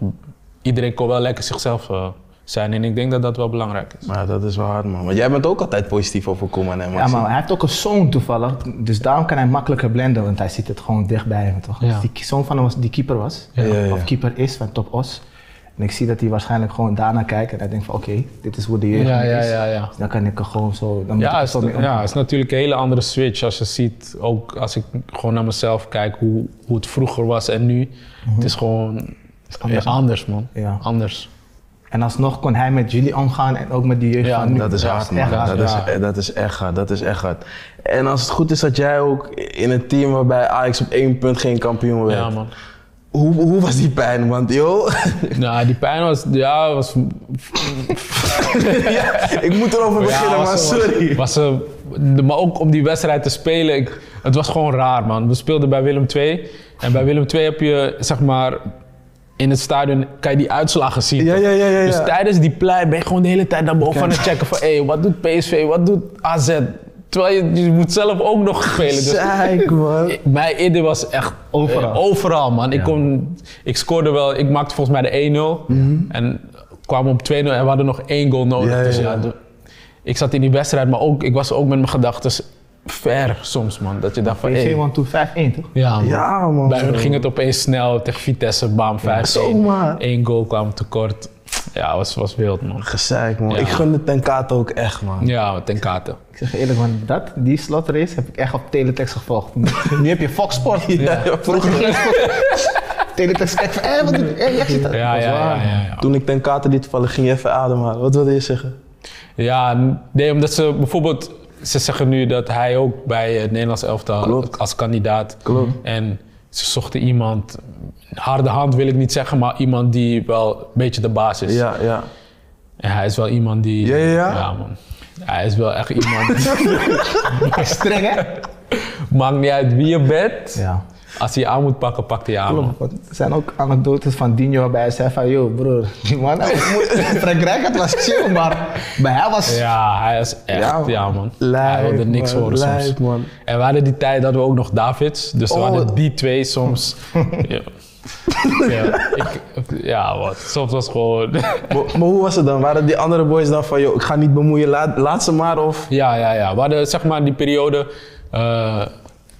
S3: iedereen kon wel lekker zichzelf eh, zijn en ik denk dat dat wel belangrijk is.
S1: Maar dat is wel hard man. Want jij bent ook altijd positief over Koeman en
S2: Ja, maar hij heeft ook een zoon toevallig. Dus daarom kan hij makkelijker blenden, want hij ziet het gewoon dichtbij hem, toch?
S3: Ja.
S2: Dus die zoon van hem was, die keeper was,
S1: Ja, ja, ja.
S2: of keeper is van Top Os. En ik zie dat hij waarschijnlijk gewoon daarna kijkt en hij denkt van oké, dit is hoe de jeugd
S3: Ja,
S2: nu
S3: ja,
S2: is.
S3: ja, ja.
S2: Dus dan kan ik er gewoon zo, dan moet ik
S3: Ja,
S2: er
S3: is,
S2: zo mee om.
S3: ja, is natuurlijk een hele andere switch als je ziet, ook als ik gewoon naar mezelf kijk, hoe, hoe het vroeger was en nu. Mhm. Het is gewoon
S2: anders,
S3: anders, anders man.
S2: Ja.
S3: Anders.
S2: En alsnog kon hij met jullie omgaan en ook met die jeugd
S3: Ja,
S2: van nu.
S1: Dat is hard, man.
S2: echt
S1: Dat,
S2: hard.
S1: is,
S3: ja.
S1: eh, dat is echt hard. Dat is echt hard. En als het goed is dat jij ook in een team waarbij Ajax op één punt geen kampioen werd.
S3: Ja man.
S1: Hoe, hoe was die pijn? Want joh,
S3: Nou, die pijn was, ja, was,
S1: ik moet erover beginnen,
S3: ja,
S1: maar
S3: was, was-
S1: sorry.
S3: Was, eh, de- maar ook om die wedstrijd te spelen, ik, het was gewoon raar, man. We speelden bij Willem II. En bij Willem II heb je, zeg maar, in het stadion kan je die uitslagen zien.
S1: Ja,
S3: toch?
S1: ja, ja, ja,
S3: Dus
S1: ja.
S3: tijdens die plei ben je gewoon de hele tijd naar boven aan het checken van, hé, wat doet PSV, wat doet AZ? Terwijl je, je moet zelf ook nog spelen. Dus
S1: Zeik, man.
S3: mijn idee was echt
S2: Overal.
S3: eh, overal man. Ik, kon, ik scoorde wel, ik maakte volgens mij de 1-0 en kwam op 2-0 en we hadden nog één goal nodig.
S1: Ja, ja,
S3: Dus
S1: ja.
S3: de- ik zat in die wedstrijd, maar ook, ik was ook met mijn gedachten ver soms man. Dat je dacht van,
S2: PSV
S3: hey,
S2: won toen 5-1 toch?
S3: ja man.
S1: Ja, man.
S3: Bij hun ging het opeens snel tegen Vitesse, bam, 5-1.
S1: zomaar.
S3: Eén goal kwam tekort. Ja, was, was wild man.
S1: Gezeik, man.
S3: Ja.
S1: Ik gun de Tenkaat ook echt, man.
S3: Ja, ten katen.
S2: Ik zeg je eerlijk, man, dat, die slotrace heb ik echt op Teletext gevolgd. nu heb je Fox Sport.
S1: Ja, ja, vroeger.
S2: Teletext kijkt van, hé, wat doet hé, jij ziet dat?
S3: Ja,
S2: Dat is
S3: ja, ja,
S2: waar.
S3: ja, ja.
S1: Toen ik Tenkaat liet vallen, ging je even ademhalen. Wat wilde je zeggen?
S3: Ja, nee, omdat ze bijvoorbeeld, ze zeggen nu dat hij ook bij het Nederlands elftal
S1: Klopt.
S3: als kandidaat.
S1: Klopt.
S3: En ze zochten iemand, harde hand wil ik niet zeggen, maar iemand die wel een beetje de baas is.
S1: Ja, ja.
S3: En hij is wel iemand die.
S1: Ja, ja, ja.
S3: man. Hij is wel echt iemand.
S2: Streng, hè?
S3: maakt niet uit wie je bent.
S2: Ja.
S3: Als hij je aan moet pakken, pakt hij je aan. man.
S2: Klopt, want er zijn ook anekdotes van Dino waarbij hij zei van, yo broer, die man, hij was moe- Frankrijk, het was chill, maar bij hij was...
S3: Ja, hij is echt.
S1: Ja,
S3: Ja,
S1: man.
S3: man.
S1: Lijp,
S3: hij wilde niks
S1: man.
S3: horen soms.
S1: Lijp, man.
S3: En we hadden die tijd dat we ook nog Davids. Dus we
S1: Oh.
S3: hadden die twee soms. ja. Ja, ik, ja, wat. Soms was het gewoon.
S1: Maar, maar hoe was het dan? Waren die andere boys dan van, joh, ik ga niet bemoeien, laat, laat ze maar of...
S3: ja, ja, ja. We hadden zeg maar die periode. eh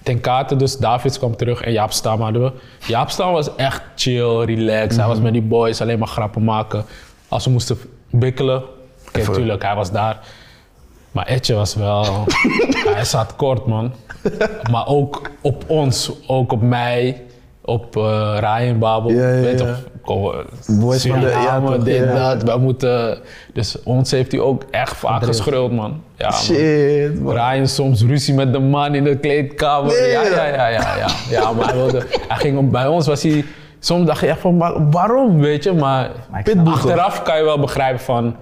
S3: ten kate, dus Davids kwam terug en Jaap Stam hadden we. Jaap Stam was echt chill, relaxed. Hij
S1: Mhm.
S3: was met die boys alleen maar grappen maken. Als we moesten bikkelen. Oké, tuurlijk, hij was daar. Maar Etje was wel. hij zat kort, man. Maar ook op ons, ook op mij, op eh Ryan Babel.
S1: Ja, ja,
S3: Weet
S1: ja.
S3: toch, kom, eh,
S1: Boys van de- ja,
S3: Suriname,
S1: toch,
S3: dit,
S1: ja.
S3: dat. Wij moeten. Dus ons heeft hij ook echt vaak geschreeuwd, man. Ja, man.
S1: Shit, man.
S3: Ryan soms ruzie met de man in de kleedkamer.
S1: Nee,
S3: ja, ja,
S1: ja.
S3: ja, ja, ja. Ja, maar hij wilde, hij ging, om- bij ons was hij. Soms dacht je echt van, "Maar waarom, weet je? Maar,
S2: Maar ik
S1: snap-
S3: achteraf kan je wel begrijpen van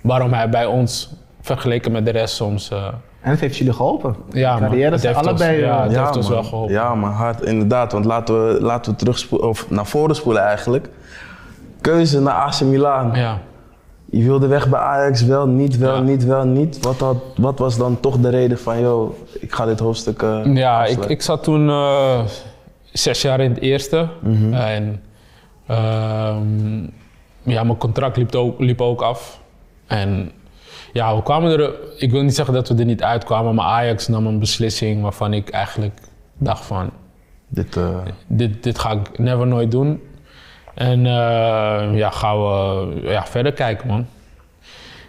S3: waarom hij bij ons vergeleken met de rest soms. eh,
S2: En dat heeft jullie geholpen.
S3: ja, man.
S2: Carrière
S3: Het
S2: zijn
S3: heeft ons-
S2: allebei...
S3: ja,
S2: eh,
S3: het heeft
S1: man.
S3: ons wel geholpen.
S1: Ja, maar hard, inderdaad. Want laten we, laten we terugspoelen, of naar voren spoelen eigenlijk. Keuze naar AC Milan.
S3: ja.
S1: Je wilde weg bij Ajax, wel, niet, wel,
S3: Ja.
S1: niet, wel, niet. Wat, had, wat was dan toch de reden van, joh, ik ga dit hoofdstuk eh,
S3: Ja, ik,
S1: afsluiten?
S3: ik zat toen eh, zes jaar in het eerste. En ehm, ja, mijn contract liep ook, liep ook af. En ja, we kwamen er. Ik wil niet zeggen dat we er niet uitkwamen, maar Ajax nam een beslissing waarvan ik eigenlijk dacht van
S1: Dit, eh,
S3: dit, dit ga ik never nooit doen. En eh, ja, gaan we ja, verder kijken, man.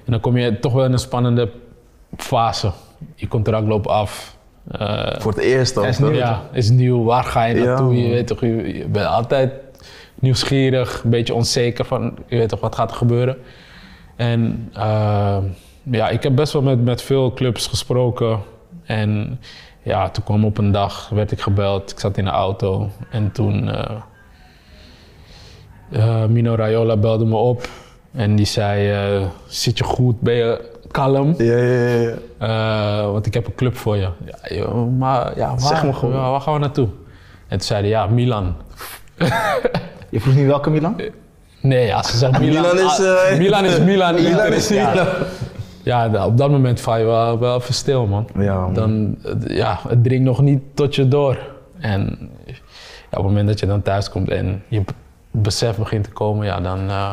S3: En dan kom je toch wel in een spannende fase. Je contract loopt af. Eh,
S1: voor het eerst dan.
S2: Hij is
S1: toch?
S2: nieuw.
S3: ja, is nieuw. Waar ga je
S1: Ja,
S3: naartoe? je
S1: man.
S3: weet toch, je, je bent altijd nieuwsgierig, een beetje onzeker van, je weet toch, wat gaat er gebeuren? En eh, ja, ik heb best wel met, met veel clubs gesproken. En ja, toen kwam op een dag, werd ik gebeld. Ik zat in de auto en toen... eh, eh, Mino Raiola belde me op en die zei, eh, zit je goed, ben je kalm?
S1: Ja, ja, ja, ja.
S3: Eh, want ik heb een club voor je. Ja, joh, maar ja, waar,
S1: Zeg maar gewoon.
S3: ja, waar gaan we naartoe? En toen zeiden ja, Milan.
S2: Je vroeg niet welke Milan?
S3: Nee, als ze zeggen Milan,
S1: Milan is,
S3: ah,
S1: eh,
S3: Milan is Milan.
S1: Milan
S3: Inter
S1: is
S3: ja.
S1: Milan.
S3: Ja, nou, op dat moment val je wel, wel even stil, man.
S1: Ja, man.
S3: Dan, het- ja, het dringt nog niet tot je door. En ja, op het moment dat je dan thuis komt en je b- besef begint te komen, ja, dan eh,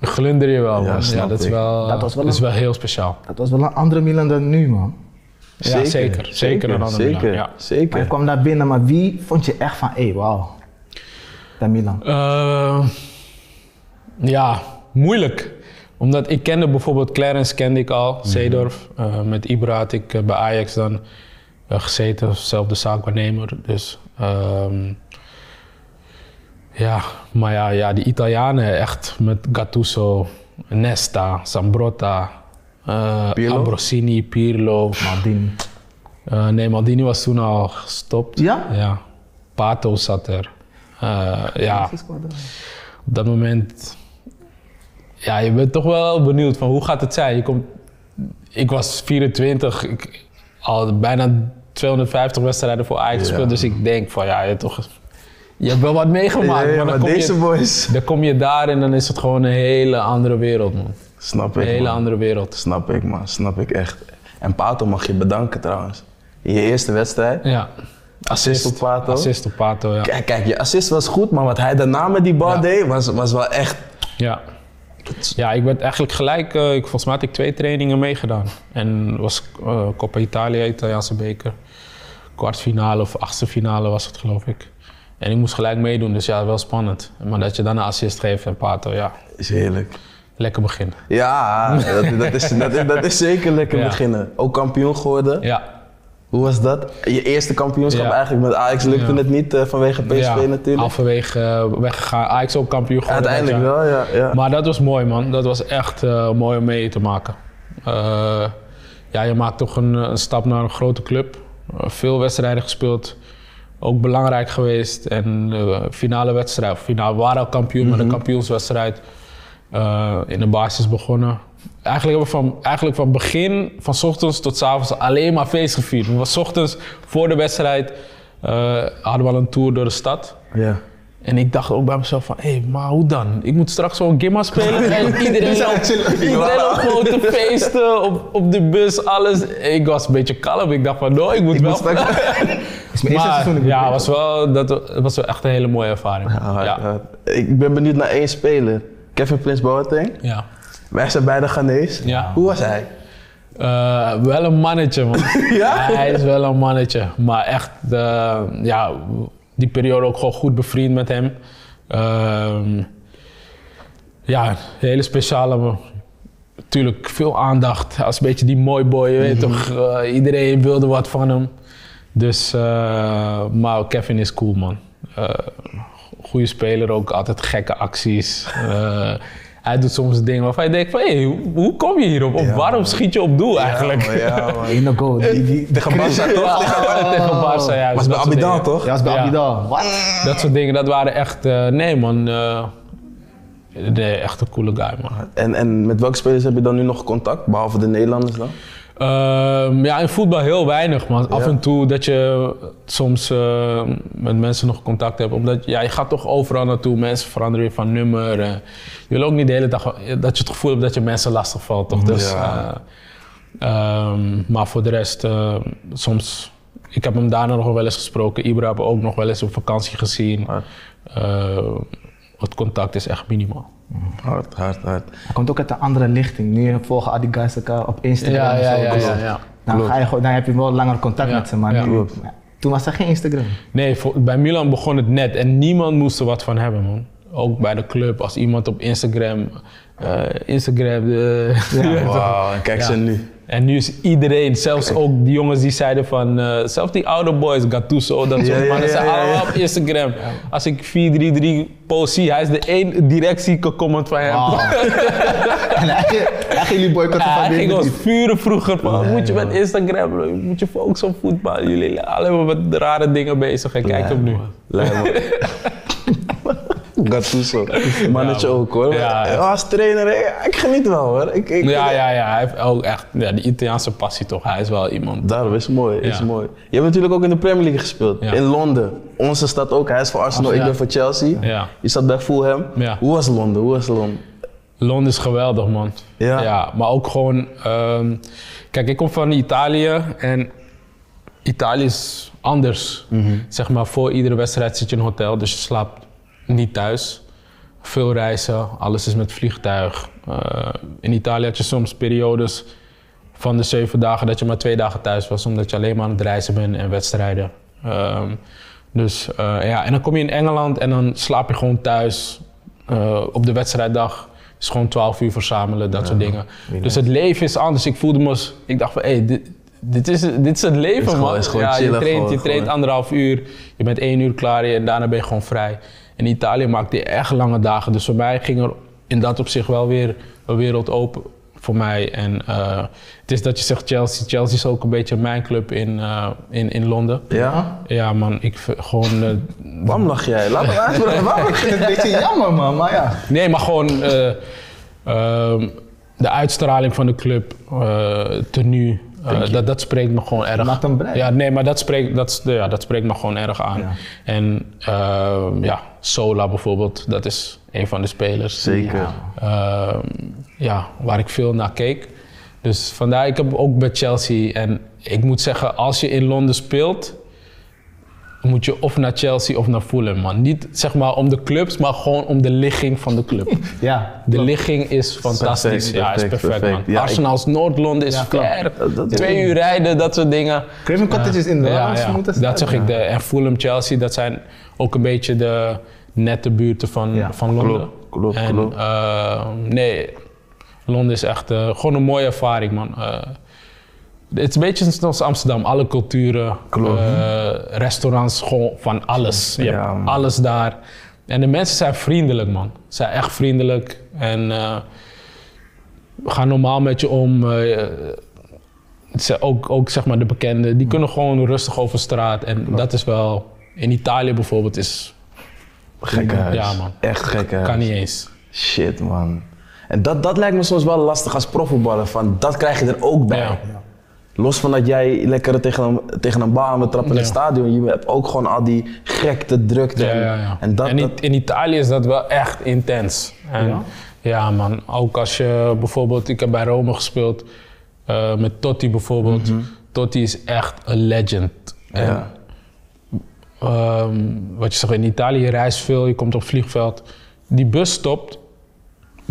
S3: glunder je wel,
S1: Ja,
S3: man. Ja,
S1: snap
S3: dat is
S1: ik.
S3: wel,
S2: Dat was wel
S3: is
S2: een-
S3: wel heel speciaal.
S2: Dat was wel een andere Milan dan nu, man.
S3: Ja, zeker. Zeker een ander Milan,
S1: Zeker,
S3: ja.
S1: zeker.
S2: Maar je kwam daar binnen, maar wie vond je echt van, hé, wauw. Dat Milan.
S3: Eh, ja, moeilijk. Omdat ik kende bijvoorbeeld Clarence kende ik al, Zeedorf. Eh, met Ibra had ik eh, bij Ajax dan eh, gezeten, zelfde zaakwaarnemer. Dus ehm, ja, maar ja, ja, die Italianen echt met Gattuso, Nesta, Sambrotta, eh
S1: Pirlo?
S3: Ambrosini, Pirlo.
S2: Maldini.
S3: Eh, nee, Maldini was toen al gestopt.
S2: Ja?
S3: Ja. Pato zat er. Eh, ja, op dat moment. Ja, je bent toch wel benieuwd van hoe gaat het zijn. Je komt, ik was 24, ik al bijna 250 wedstrijden voor Ajax gespeeld. Dus ik denk van ja, je, hebt toch, je hebt wel wat meegemaakt.
S1: Ja,
S3: maar dan,
S1: maar
S3: kom
S1: deze
S3: je,
S1: boys.
S3: dan kom je daar en dan is het gewoon een hele andere wereld, man.
S1: Snap
S3: Een
S1: ik.
S3: hele
S1: man.
S3: andere wereld.
S1: Snap ik, man. Snap ik echt. En Pato mag je bedanken trouwens. In je eerste wedstrijd.
S3: Ja.
S1: Oh? Assist op Pato.
S3: Assist op Pato, ja.
S1: Kijk, kijk, je assist was goed, maar wat hij daarna met die bal
S3: Ja.
S1: deed, was, was wel echt.
S3: Ja. Ja, ik werd eigenlijk gelijk, eh, ik, volgens mij had ik twee trainingen meegedaan. En was eh Coppa Italia, Italiaanse beker. Kwartfinale of achtste finale was het geloof ik. En ik moest gelijk meedoen, dus ja, wel spannend. Maar dat je dan een assist geeft en Pato, ja,
S1: Is heerlijk.
S3: lekker begin.
S1: Ja, dat, dat, is, dat, is, dat is zeker lekker
S3: Ja.
S1: beginnen. Ook kampioen geworden.
S3: Ja,
S1: Hoe was dat? Je eerste kampioenschap
S3: Ja.
S1: eigenlijk met Ajax lukte
S3: Ja.
S1: het niet eh, vanwege PSV
S3: ja,
S1: natuurlijk.
S3: halverwege eh, weggegaan. Ajax ook kampioen geworden. dat
S1: Uiteindelijk
S3: jaar.
S1: wel, ja. ja.
S3: Maar dat was mooi, man. Dat was echt eh, mooi om mee te maken. Eh, ja, je maakt toch een, eh, een stap naar een grote club. Eh, veel wedstrijden gespeeld. Ook belangrijk geweest. En eh, finale wedstrijd. of Finale, we waren al kampioen, maar de kampioenswedstrijd. eh, in de basis begonnen. Eigenlijk hebben we van, eigenlijk van begin, van 's ochtends tot 's avonds, alleen maar feest gevierd. We was 's ochtends voor de wedstrijd eh, hadden we al een tour door de stad.
S1: ja.
S3: En ik dacht ook bij mezelf van, hé, maar hoe dan? Ik moet straks zo'n gimma spelen en iedereen loopt iedereen loopt gewoon te feesten op, op de bus, alles. Ik was een beetje kalm. Ik dacht van, no, ik moet wel...
S1: moet straks-
S2: is mijn eerste
S3: maar,
S2: seizoen. in de
S3: ja,
S2: Premier
S3: was wel, dat wa- was wel echt een hele mooie ervaring.
S1: Ja, hard,
S3: ja.
S1: hard. Ik ben benieuwd naar één speler. Kevin Prince Boateng.
S3: ja.
S1: Wij zijn beide Ghanese.
S3: Ja.
S1: Hoe was hij?
S3: Eh, wel een mannetje, man. Hij is wel een mannetje. Maar echt, eh, ja, die periode ook gewoon goed bevriend met hem. Ehm, ja, een hele speciale. man. Tuurlijk, veel aandacht. Als een beetje die mooi boy, je weet
S1: Mhm.
S3: toch. eh, iedereen wilde wat van hem. Dus, eh, maar Kevin is cool, man. goede speler ook, altijd gekke acties. Eh, hij doet soms dingen waarvan je denkt van, hé, hoe- hoe kom je hierop? Of waarom schiet je op doel eigenlijk?
S1: Ja, man, Oh, ja, man.
S2: League. In de goal. Die, die,
S1: Tegen Barca toch? Tegen Barca.
S3: Tegen Barca, ja.
S1: Was bij
S3: dus dat soort
S1: Abidal
S3: dingen.
S1: toch?
S2: ja, was bij
S3: Ja.
S2: Abidal. Wat?
S3: Dat soort dingen, dat waren echt... eh, nee, man. eh, nee, echt een coole guy, man.
S1: En, en met welke spelers heb je dan nu nog contact? Behalve de Nederlanders dan?
S3: Ehm, ja, in voetbal heel weinig, man. Af en toe dat je soms eh, met mensen nog contact hebt. Omdat ja, je gaat toch overal naartoe. Mensen veranderen weer van nummer. eh. je wil ook niet de hele dag eh, dat je het gevoel hebt dat je mensen lastig valt, toch? Dus,
S1: Ja.
S3: eh, ehm, maar voor de rest, eh, soms... Ik heb hem daarna nog wel eens gesproken. Ibra hebben we ook nog wel eens op vakantie gezien.
S1: Hard.
S3: Eh, het contact is echt minimaal.
S1: Hard, hard, hard.
S2: Hij komt ook uit een andere lichting. Nu volgen al die guys elkaar op Instagram.
S3: Ja,
S2: en
S3: ja,
S2: zo.
S3: ja,
S2: Dus
S3: ja, ja.
S2: Dan, ga je, gewoon- dan heb je wel langer contact
S3: Ja,
S2: met ze. Maar
S3: ja.
S2: nu-
S1: Klopt.
S2: toen was er geen Instagram.
S3: Nee, voor- bij Milan begon het net en niemand moest er wat van hebben, man. Ook bij de club, als iemand op Instagram. eh, Instagram. eh,
S1: Wauw, en kijk
S3: Ja.
S1: ze nu.
S3: En nu is iedereen, zelfs ook die jongens die zeiden van. eh, zelfs die oude boys, Gattuso, dat soort
S1: Ja, ja,
S3: mannen,
S1: ja,
S3: zijn
S1: ja,
S3: allemaal
S1: ja.
S3: op Instagram. Als ik 4-3-3 post zie, hij is de één directieke comment van hem.
S2: Wow. en hij, hij ging jullie boycotten
S3: Ja,
S2: van
S3: hij ging
S2: dit
S3: ons
S2: niet.
S3: vuren vroeger. Van, moet je met Instagram, bro, moet je focussen op voetbal. Jullie zijn allemaal met rare dingen bezig en kijk hem nu.
S1: Lijn, man. Gattuso. Mannetje
S3: Ja, man.
S1: ook hoor.
S3: Ja, ja.
S1: Als trainer, ik, ik geniet wel hoor. Ik, ik,
S3: Ja, ja, ja. Hij heeft ook echt ja, die Italiaanse passie toch. Hij is wel iemand.
S1: Daarom is mooi, is
S3: Ja.
S1: mooi. Je hebt natuurlijk ook in de Premier League gespeeld.
S3: Ja.
S1: In Londen. Onze stad ook. Hij is voor Arsenal,
S3: Ach, ja.
S1: ik ben voor Chelsea.
S3: Ja.
S1: Je zat bij Fulham.
S3: Ja.
S1: Hoe was Londen? Hoe was Londen?
S3: Londen is geweldig, man.
S1: Ja.
S3: maar ook gewoon... ehm, kijk, ik kom van Italië en Italië is anders.
S1: Mhm.
S3: Zeg maar, voor iedere wedstrijd zit je in een hotel, dus je slaapt niet thuis. Veel reizen, alles is met vliegtuig. Eh, in Italië had je soms periodes van de zeven dagen dat je maar twee dagen thuis was, omdat je alleen maar aan het reizen bent en wedstrijden. Ehm, dus eh, ja, en dan kom je in Engeland en dan slaap je gewoon thuis eh, op de wedstrijddag. Dus gewoon 12 uur verzamelen, dat soort dingen. Dus het leven is anders. Ik voelde me als, ik dacht van, hé, dit, dit, is, dit is het leven,
S1: gewoon-
S3: man.
S1: is gewoon
S3: ja, je
S1: chillen,
S3: traint,
S1: gewoon-
S3: je traint
S1: gewoon.
S3: anderhalf uur, je bent één uur klaar en daarna ben je gewoon vrij. In Italië maakte je echt lange dagen, dus voor mij ging er in dat opzicht wel weer een wereld open voor mij. En eh, het is dat je zegt Chelsea. Chelsea is ook een beetje mijn club in, eh, in, in Londen.
S1: Ja?
S3: Ja man, ik v- gewoon... eh,
S1: Waarom lach jij? Laat me uitpraten.
S2: Ik vind het een beetje jammer, man. Maar ja.
S3: nee, maar gewoon eh, ehm, de uitstraling van de club, eh tenue, eh, dat, dat spreekt me gewoon erg.
S2: Maakt hem blij.
S3: Ja, nee, maar dat spreekt, dat, is- ja, dat spreekt me gewoon erg aan.
S2: Ja.
S3: En ehm, ja, Sola bijvoorbeeld, dat is een van de spelers.
S1: Zeker.
S3: Ehm, ja, waar ik veel naar keek. Dus vandaar, ik heb ook bij Chelsea. En ik moet zeggen, als je in Londen speelt, moet je of naar Chelsea of naar Fulham, man. Niet zeg maar om de clubs, maar gewoon om de ligging van de club.
S2: Ja.
S3: De ligging is fantastisch.
S1: Perfect,
S3: ja, is
S1: perfect,
S3: perfect,
S1: perfect.
S3: man.
S1: Ja, ik-
S3: Arsenal's Noord-Londen is
S2: Ja, klopt.
S3: ver.
S1: Dat- dat-
S3: Twee uur rijden, dat soort dingen.
S2: Craven Cottages in de
S3: Ja,
S2: langs
S3: ja.
S2: moeten staan.
S3: dat zeg ik. De, en Fulham, Chelsea, dat zijn ook een beetje de nette buurten van,
S2: Ja,
S3: van Londen.
S1: klopt, klopt,
S3: en,
S1: klopt.
S3: eh, nee, Londen is echt eh, gewoon een mooie ervaring, man. Eh, het is een beetje zoals Amsterdam. Alle culturen,
S1: Klopt.
S3: eh, restaurants, gewoon van alles. Je
S1: Ja,
S3: hebt
S1: man.
S3: alles daar. En de mensen zijn vriendelijk, man. Ze zijn echt vriendelijk. En eh, gaan normaal met je om. eh, ze- ook, ook zeg maar de bekenden,
S1: Mm.
S3: die kunnen gewoon rustig over straat. En dat is wel... In Italië bijvoorbeeld is...
S1: Gekke huis.
S3: Ja, man.
S1: Echt gekke huis.
S3: Kan niet eens.
S1: Shit, man. En dat, dat lijkt me soms wel lastig als profvoetballer. Van, dat krijg je er ook bij.
S3: Ja.
S1: Los van dat jij lekker tegen een, tegen een bal aan wil trappen in het
S3: Ja.
S1: stadion. Je hebt ook gewoon al die gekte drukte.
S3: Ja,
S1: en-
S3: ja, ja.
S1: En dat,
S3: in,
S1: dat-
S3: in Italië is dat wel echt intens. En
S2: Ja?
S3: ja? man. Ook als je bijvoorbeeld... Ik heb bij Rome gespeeld. eh, met Totti bijvoorbeeld. Totti is echt een legend. En,
S1: Mhm. Ja.
S3: ehm, wat je zegt, in Italië je reist veel. Je komt op het vliegveld. Die bus stopt.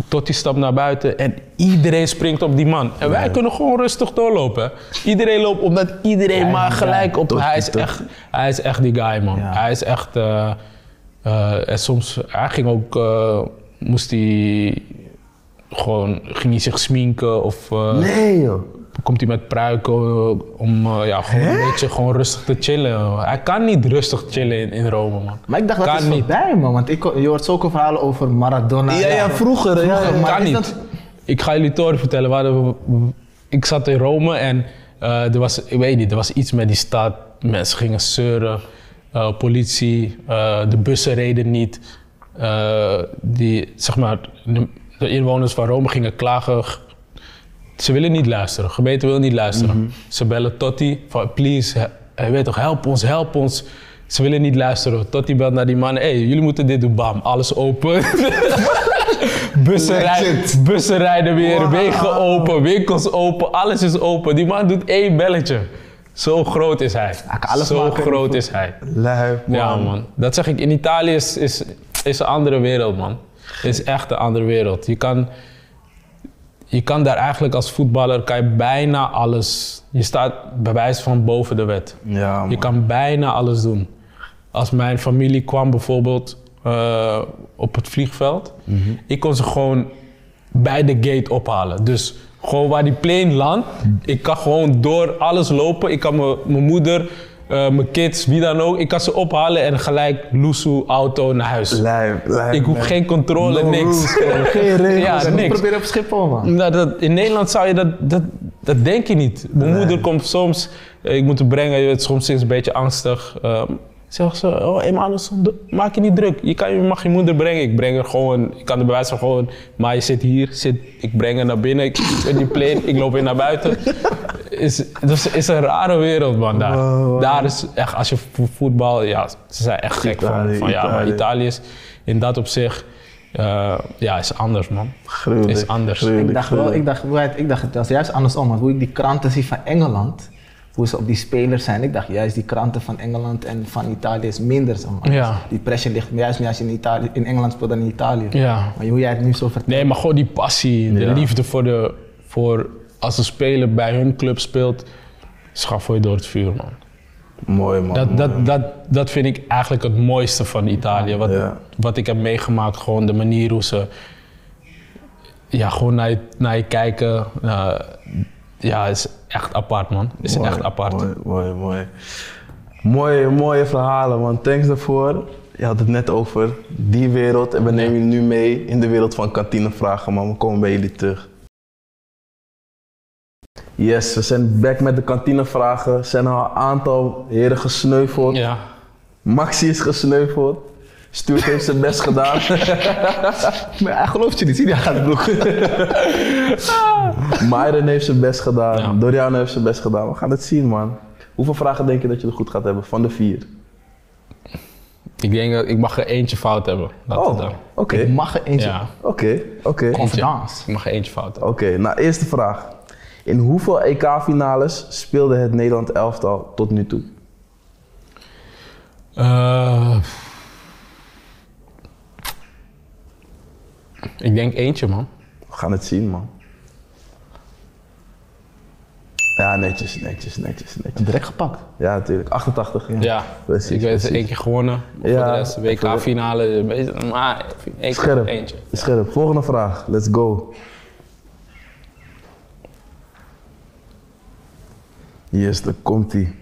S3: Totti stapt naar buiten en iedereen springt op die man. En wij kunnen gewoon rustig doorlopen. Iedereen loopt omdat iedereen maar gelijk op.
S1: Totti,
S3: Hij is,
S1: Totti.
S3: echt, hij is echt die guy, man.
S2: Ja.
S3: Hij is echt. eh, eh, en soms, hij ging ook. eh, moest hij. gewoon. ging hij zich sminken of. eh,
S1: Nee, joh.
S3: komt hij met pruiken eh, om. eh, ja, gewoon een beetje gewoon rustig te chillen. Hij kan niet rustig chillen in, in Rome, man.
S2: Maar ik dacht, dat
S3: Kan
S2: is
S3: niet.
S2: voorbij, man. Want ik, je hoort zulke verhalen over Maradona.
S1: Ja, ja, vroeger. ja, ja,
S2: maar
S3: kan
S2: is
S3: niet.
S2: dat-
S3: Ik ga jullie een story vertellen. We hadden- ik zat in Rome en eh, er was, ik weet niet, er was iets met die stad. Mensen gingen zeuren, eh, politie, eh, de bussen reden niet. Eh, die, zeg maar, de, de inwoners van Rome gingen klagen. G- Ze willen niet luisteren, de gemeente wil niet luisteren.
S2: Mhm.
S3: Ze bellen Totti van please, he- je weet toch, help ons, help ons. Ze willen niet luisteren. Totti belt naar die mannen, hey, jullie moeten dit doen, bam, alles open. Bussen, rij-
S2: Legend.
S3: bussen rijden weer,
S2: Wauw.
S3: wegen open, winkels open, alles is open. Die man doet één belletje. Zo groot is hij.
S2: kan alles
S3: Zo
S2: maken.
S3: groot is hij.
S1: Lui, man.
S3: Ja man, dat zeg ik. In Italië is, is, is een andere wereld man. Is echt een andere wereld. Je kan, je kan daar eigenlijk als voetballer kan je bijna alles. Je staat bij wijze van boven de wet.
S1: Ja, man.
S3: Je kan bijna alles doen. Als mijn familie kwam bijvoorbeeld eh, op het vliegveld,
S1: Mhm.
S3: ik kon ze gewoon bij de gate ophalen. Dus gewoon waar die plane landt,
S1: Mhm.
S3: ik kan gewoon door alles lopen. Ik kan mijn- mijn moeder, eh, mijn kids, wie dan ook, ik kan ze ophalen en gelijk loesoe auto naar huis.
S1: Lui, lui,
S3: Ik hoef
S1: man.
S3: geen controle,
S1: No
S3: niks.
S1: rules, man. Geen regels.
S3: Ja,
S2: dat moet
S3: niks.
S2: proberen op Schiphol, man.
S3: Nou, dat, in Nederland zou je dat, dat, dat denk je niet. Mijn moeder komt soms, eh, ik moet hem brengen, je weet, soms is ze een beetje angstig. Ehm zegt ze, oh Emmanuel, do- maak je niet druk. Je, kan, je mag je moeder brengen. Ik breng haar gewoon, ik kan de bewijs van gewoon, maar je zit hier, zit, ik breng haar naar binnen, ik zit in die plane, ik loop weer naar buiten. Is, dus is een rare wereld, man, daar. Daar is echt, als je vo- voetbal, ja, ze zijn echt gek van,
S1: Italië,
S3: van ja, maar
S1: Italië.
S3: Italië is in dat opzicht, eh, ja, is anders, man.
S1: Gruwelijk,
S3: Is anders.
S1: gruwelijk,
S2: Ik dacht wel,
S1: gruwelijk.
S2: ik dacht, right, ik dacht, het was juist andersom. Want hoe ik die kranten zie van Engeland, hoe ze op die spelers zijn. Ik dacht juist die kranten van Engeland en van Italië is minder, zeg maar.
S3: Ja.
S2: Die pressure ligt juist meer als je in, Italië, in Engeland speelt dan in Italië.
S3: Ja.
S2: Maar hoe jij het nu zo vertelt.
S3: Nee, maar gewoon die passie, de
S1: Ja.
S3: liefde voor de. Voor als een speler bij hun club speelt, schaf je door het vuur, man.
S1: Mooi, man.
S3: Dat,
S1: mooi,
S3: dat,
S1: Oh, man.
S3: dat, dat vind ik eigenlijk het mooiste van Italië. Wat,
S1: Ja.
S3: wat ik heb meegemaakt, gewoon de manier hoe ze. Ja, gewoon naar je, naar je kijken. eh, ja, is echt apart, man. Is
S1: Mooi,
S3: echt apart.
S1: Mooi, mooi, mooi. Mooie, mooie verhalen, man. Thanks daarvoor. Je had het net over die wereld en we nemen jullie nu mee in de wereld van kantinevragen, man. We komen bij jullie terug. Yes, we zijn back met de kantinevragen. Zijn al een aantal heren gesneuveld.
S3: Ja.
S1: Maxi is gesneuveld. Stuart heeft zijn best gedaan.
S2: Maar hij gelooft je niet, zie je, hij gaat broek.
S1: Myron heeft zijn best gedaan.
S3: Ja.
S1: Dorian heeft zijn best gedaan. We gaan het zien, man. Hoeveel vragen denk je dat je er goed gaat hebben? Van de vier.
S3: Ik denk dat ik mag er eentje fout hebben. Laten we
S1: Oh,
S3: dan.
S1: oké.
S2: Ik mag er eentje.
S3: Ja.
S1: Oké, oké.
S2: Confidence.
S3: Ik mag er eentje fout hebben.
S1: Oké, nou eerste vraag. In hoeveel EK-finales speelde het Nederland elftal tot nu toe?
S3: Eh, ik denk eentje, man.
S1: We gaan het zien, man. Ja, netjes, netjes, netjes, netjes.
S2: Direct gepakt.
S1: Ja, natuurlijk. 88.
S3: Ja,
S1: Precies,
S3: ik weet
S1: precies.
S3: het één keer gewonnen. Maar
S1: Ja,
S3: voor de rest,
S1: voor de-
S3: WK-finale, eh, maar één
S1: Scherp.
S3: keer eentje.
S1: Scherp. Volgende vraag. Let's go. Yes, daar komt ie.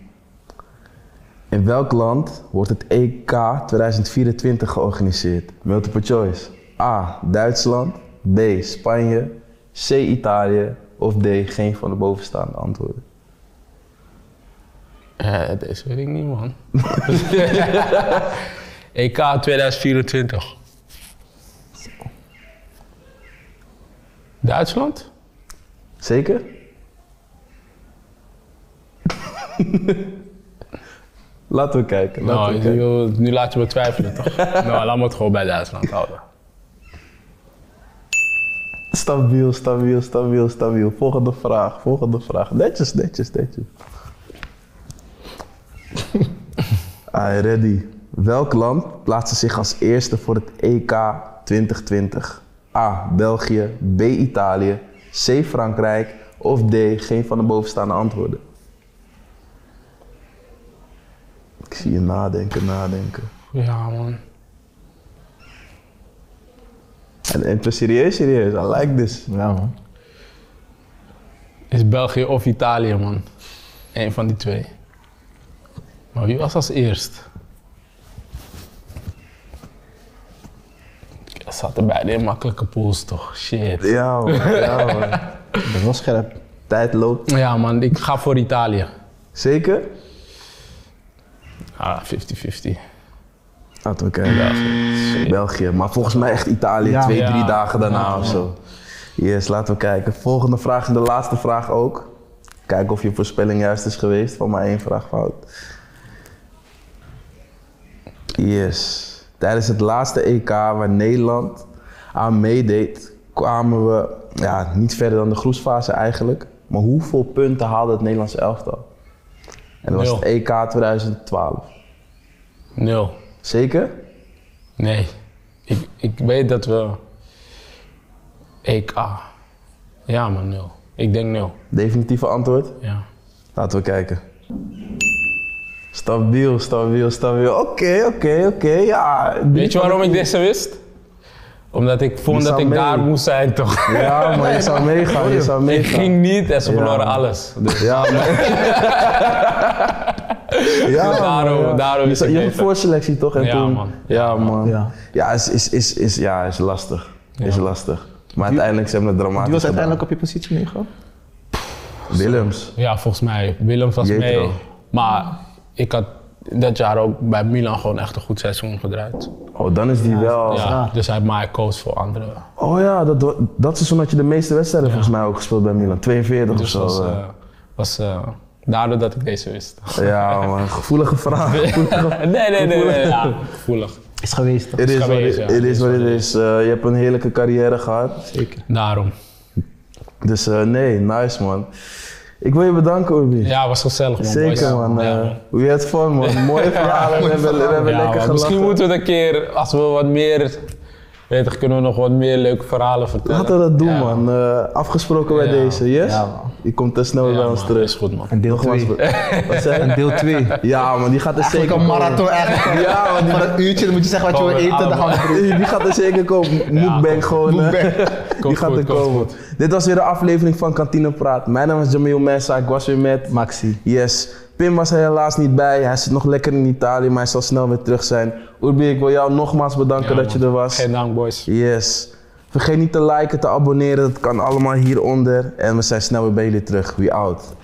S1: In welk land wordt het E EK 2024 georganiseerd? Multiple choice. A. Duitsland. B. Spanje. C. Italië. Of D. Geen van de bovenstaande antwoorden.
S3: Eh, deze weet ik niet, man. EK 2024. Duitsland?
S1: Zeker? Laten we kijken. Laten
S3: Nou,
S1: we
S3: ik
S1: kijken.
S3: wil- nu laat je me twijfelen, toch? nou, laat me het gewoon bij Duitsland houden.
S1: Stabiel, stabiel, stabiel, stabiel. Volgende vraag, volgende vraag. Netjes, netjes, netjes. Ah, ready. Welk land plaatste zich als eerste voor het E EK 2020? A. België. B. Italië. C. Frankrijk. Of D. Geen van de bovenstaande antwoorden. Ik zie je nadenken, nadenken.
S3: Ja, man.
S1: En, en serieus, serieus. I like this.
S2: Ja, man.
S3: Is België of Italië, man? Eén van die twee. Maar wie was als eerst? Dat zaten beide in makkelijke pools, toch? Shit.
S1: Ja, man. Ja, man.
S2: Dat is wel scherp.
S1: Tijd loopt.
S3: Ja, man, ik ga voor Italië.
S1: Zeker?
S3: Ah, 50-50.
S1: Laten we kijken. België, maar volgens mij echt Italië,
S2: Ja.
S1: twee, drie
S3: Ja.
S1: dagen daarna
S3: Ja,
S1: of zo. Yes, laten we kijken. Volgende vraag en de laatste vraag ook. Kijken of je voorspelling juist is geweest, van maar één vraag fout. Yes. Tijdens het laatste EK waar Nederland aan meedeed, kwamen we ja, niet verder dan de groepsfase eigenlijk. Maar hoeveel punten haalde het Nederlands elftal? En dat was
S3: Nul.
S1: het EK 2012.
S3: Nul.
S1: Zeker?
S3: Nee. Ik, ik weet dat we... EK. Ja, man, nul. Ik denk nul.
S1: Definitieve antwoord?
S3: Ja.
S1: Laten we kijken. Stabiel, stabiel, stabiel. Oké, oké, oké. Ja.
S3: Weet je waarom ik deze wist? Omdat ik vond
S1: Je
S3: dat
S1: zou
S3: ik
S1: mee.
S3: daar moest zijn, toch?
S1: Ja, maar je zou meegaan, je zou
S3: Ik
S1: meegaan.
S3: ging niet en ze verloren
S1: man.
S3: alles. Dus
S1: Ja, maar. Ja, man,
S3: daarom,
S1: ja.
S3: daarom is
S1: Je
S3: het
S1: had een
S3: beter.
S1: voorselectie toch? En
S3: Ja,
S1: toen...
S3: man.
S1: Ja, man. Ja,
S2: Ja.
S1: is, is, is, is, ja is lastig. Is lastig. Maar uiteindelijk zijn we het dramatisch
S2: Wie was
S1: gedaan.
S2: uiteindelijk op je positie neergegaan?
S1: Willems.
S3: Ja, volgens mij. Willem was
S1: Jetro.
S3: mee. Maar ik had dat jaar ook bij Milan gewoon echt een goed seizoen gedraaid.
S1: Oh, dan is die wel...
S3: Ja, dus hij maakt koos voor anderen.
S1: Oh ja, dat, dat seizoen had je de meeste wedstrijden volgens mij ook gespeeld bij Milan. 42
S3: Dus
S1: of
S3: was,
S1: zo. eh.
S3: eh, was eh, daardoor dat ik deze wist.
S1: Ja, man. Gevoelige vraag. Gevoelige
S3: nee, nee, nee. nee, nee. Ja, gevoelig.
S2: Is geweest toch?
S1: Het is wat
S3: Schabees,
S1: het
S3: ja.
S1: het is. Wat het is. Eh, je hebt een heerlijke carrière gehad.
S2: Zeker.
S3: Daarom.
S1: Dus eh, nee, nice man. Ik wil je bedanken, Obi.
S3: Ja, was gezellig man.
S1: Zeker
S3: boys.
S1: man.
S3: Ja,
S1: eh, we had fun man. Mooie verhalen. we hebben, we hebben
S3: Ja,
S1: lekker
S3: man.
S1: gelachen.
S3: Misschien moeten we het een keer, als we wat meer, weet je, kunnen we nog wat meer leuke verhalen vertellen.
S1: Laten we dat doen
S3: Ja,
S1: man. Eh, afgesproken bij
S3: Ja.
S1: deze, yes?
S2: Ja, man.
S1: Je komt te snel
S3: Ja,
S1: bij ons
S3: man,
S1: terug.
S3: Is goed man.
S2: En deel
S1: Nogmaals,
S2: 2.
S1: be- wat zei je?
S2: Deel 2.
S1: Ja man, die gaat er
S2: Zeker
S1: zeker
S2: een
S1: komen.
S2: marathon eigenlijk.
S1: Ja man,
S2: Van een uurtje, dan moet je zeggen wat je wil
S3: Komen we
S2: eten. Dan gaan we
S1: die, die gaat er zeker komen. Moekbang gewoon. eh. Die
S3: Komt
S1: gaat
S3: goed,
S1: er
S3: komt
S1: komen. Dit was weer de aflevering van Kantine Praat. Mijn naam is Jamil Mensa. Ik was weer met...
S2: Maxi.
S1: Yes. Pim was er helaas niet bij. Hij zit nog lekker in Italië, maar hij zal snel weer terug zijn. Urbi, ik wil jou nogmaals bedanken
S3: Ja,
S1: dat je
S3: man.
S1: er was.
S3: Geen dank boys.
S1: Yes. Vergeet niet te liken, te abonneren. Dat kan allemaal hieronder. En we zijn snel weer bij jullie terug. We out.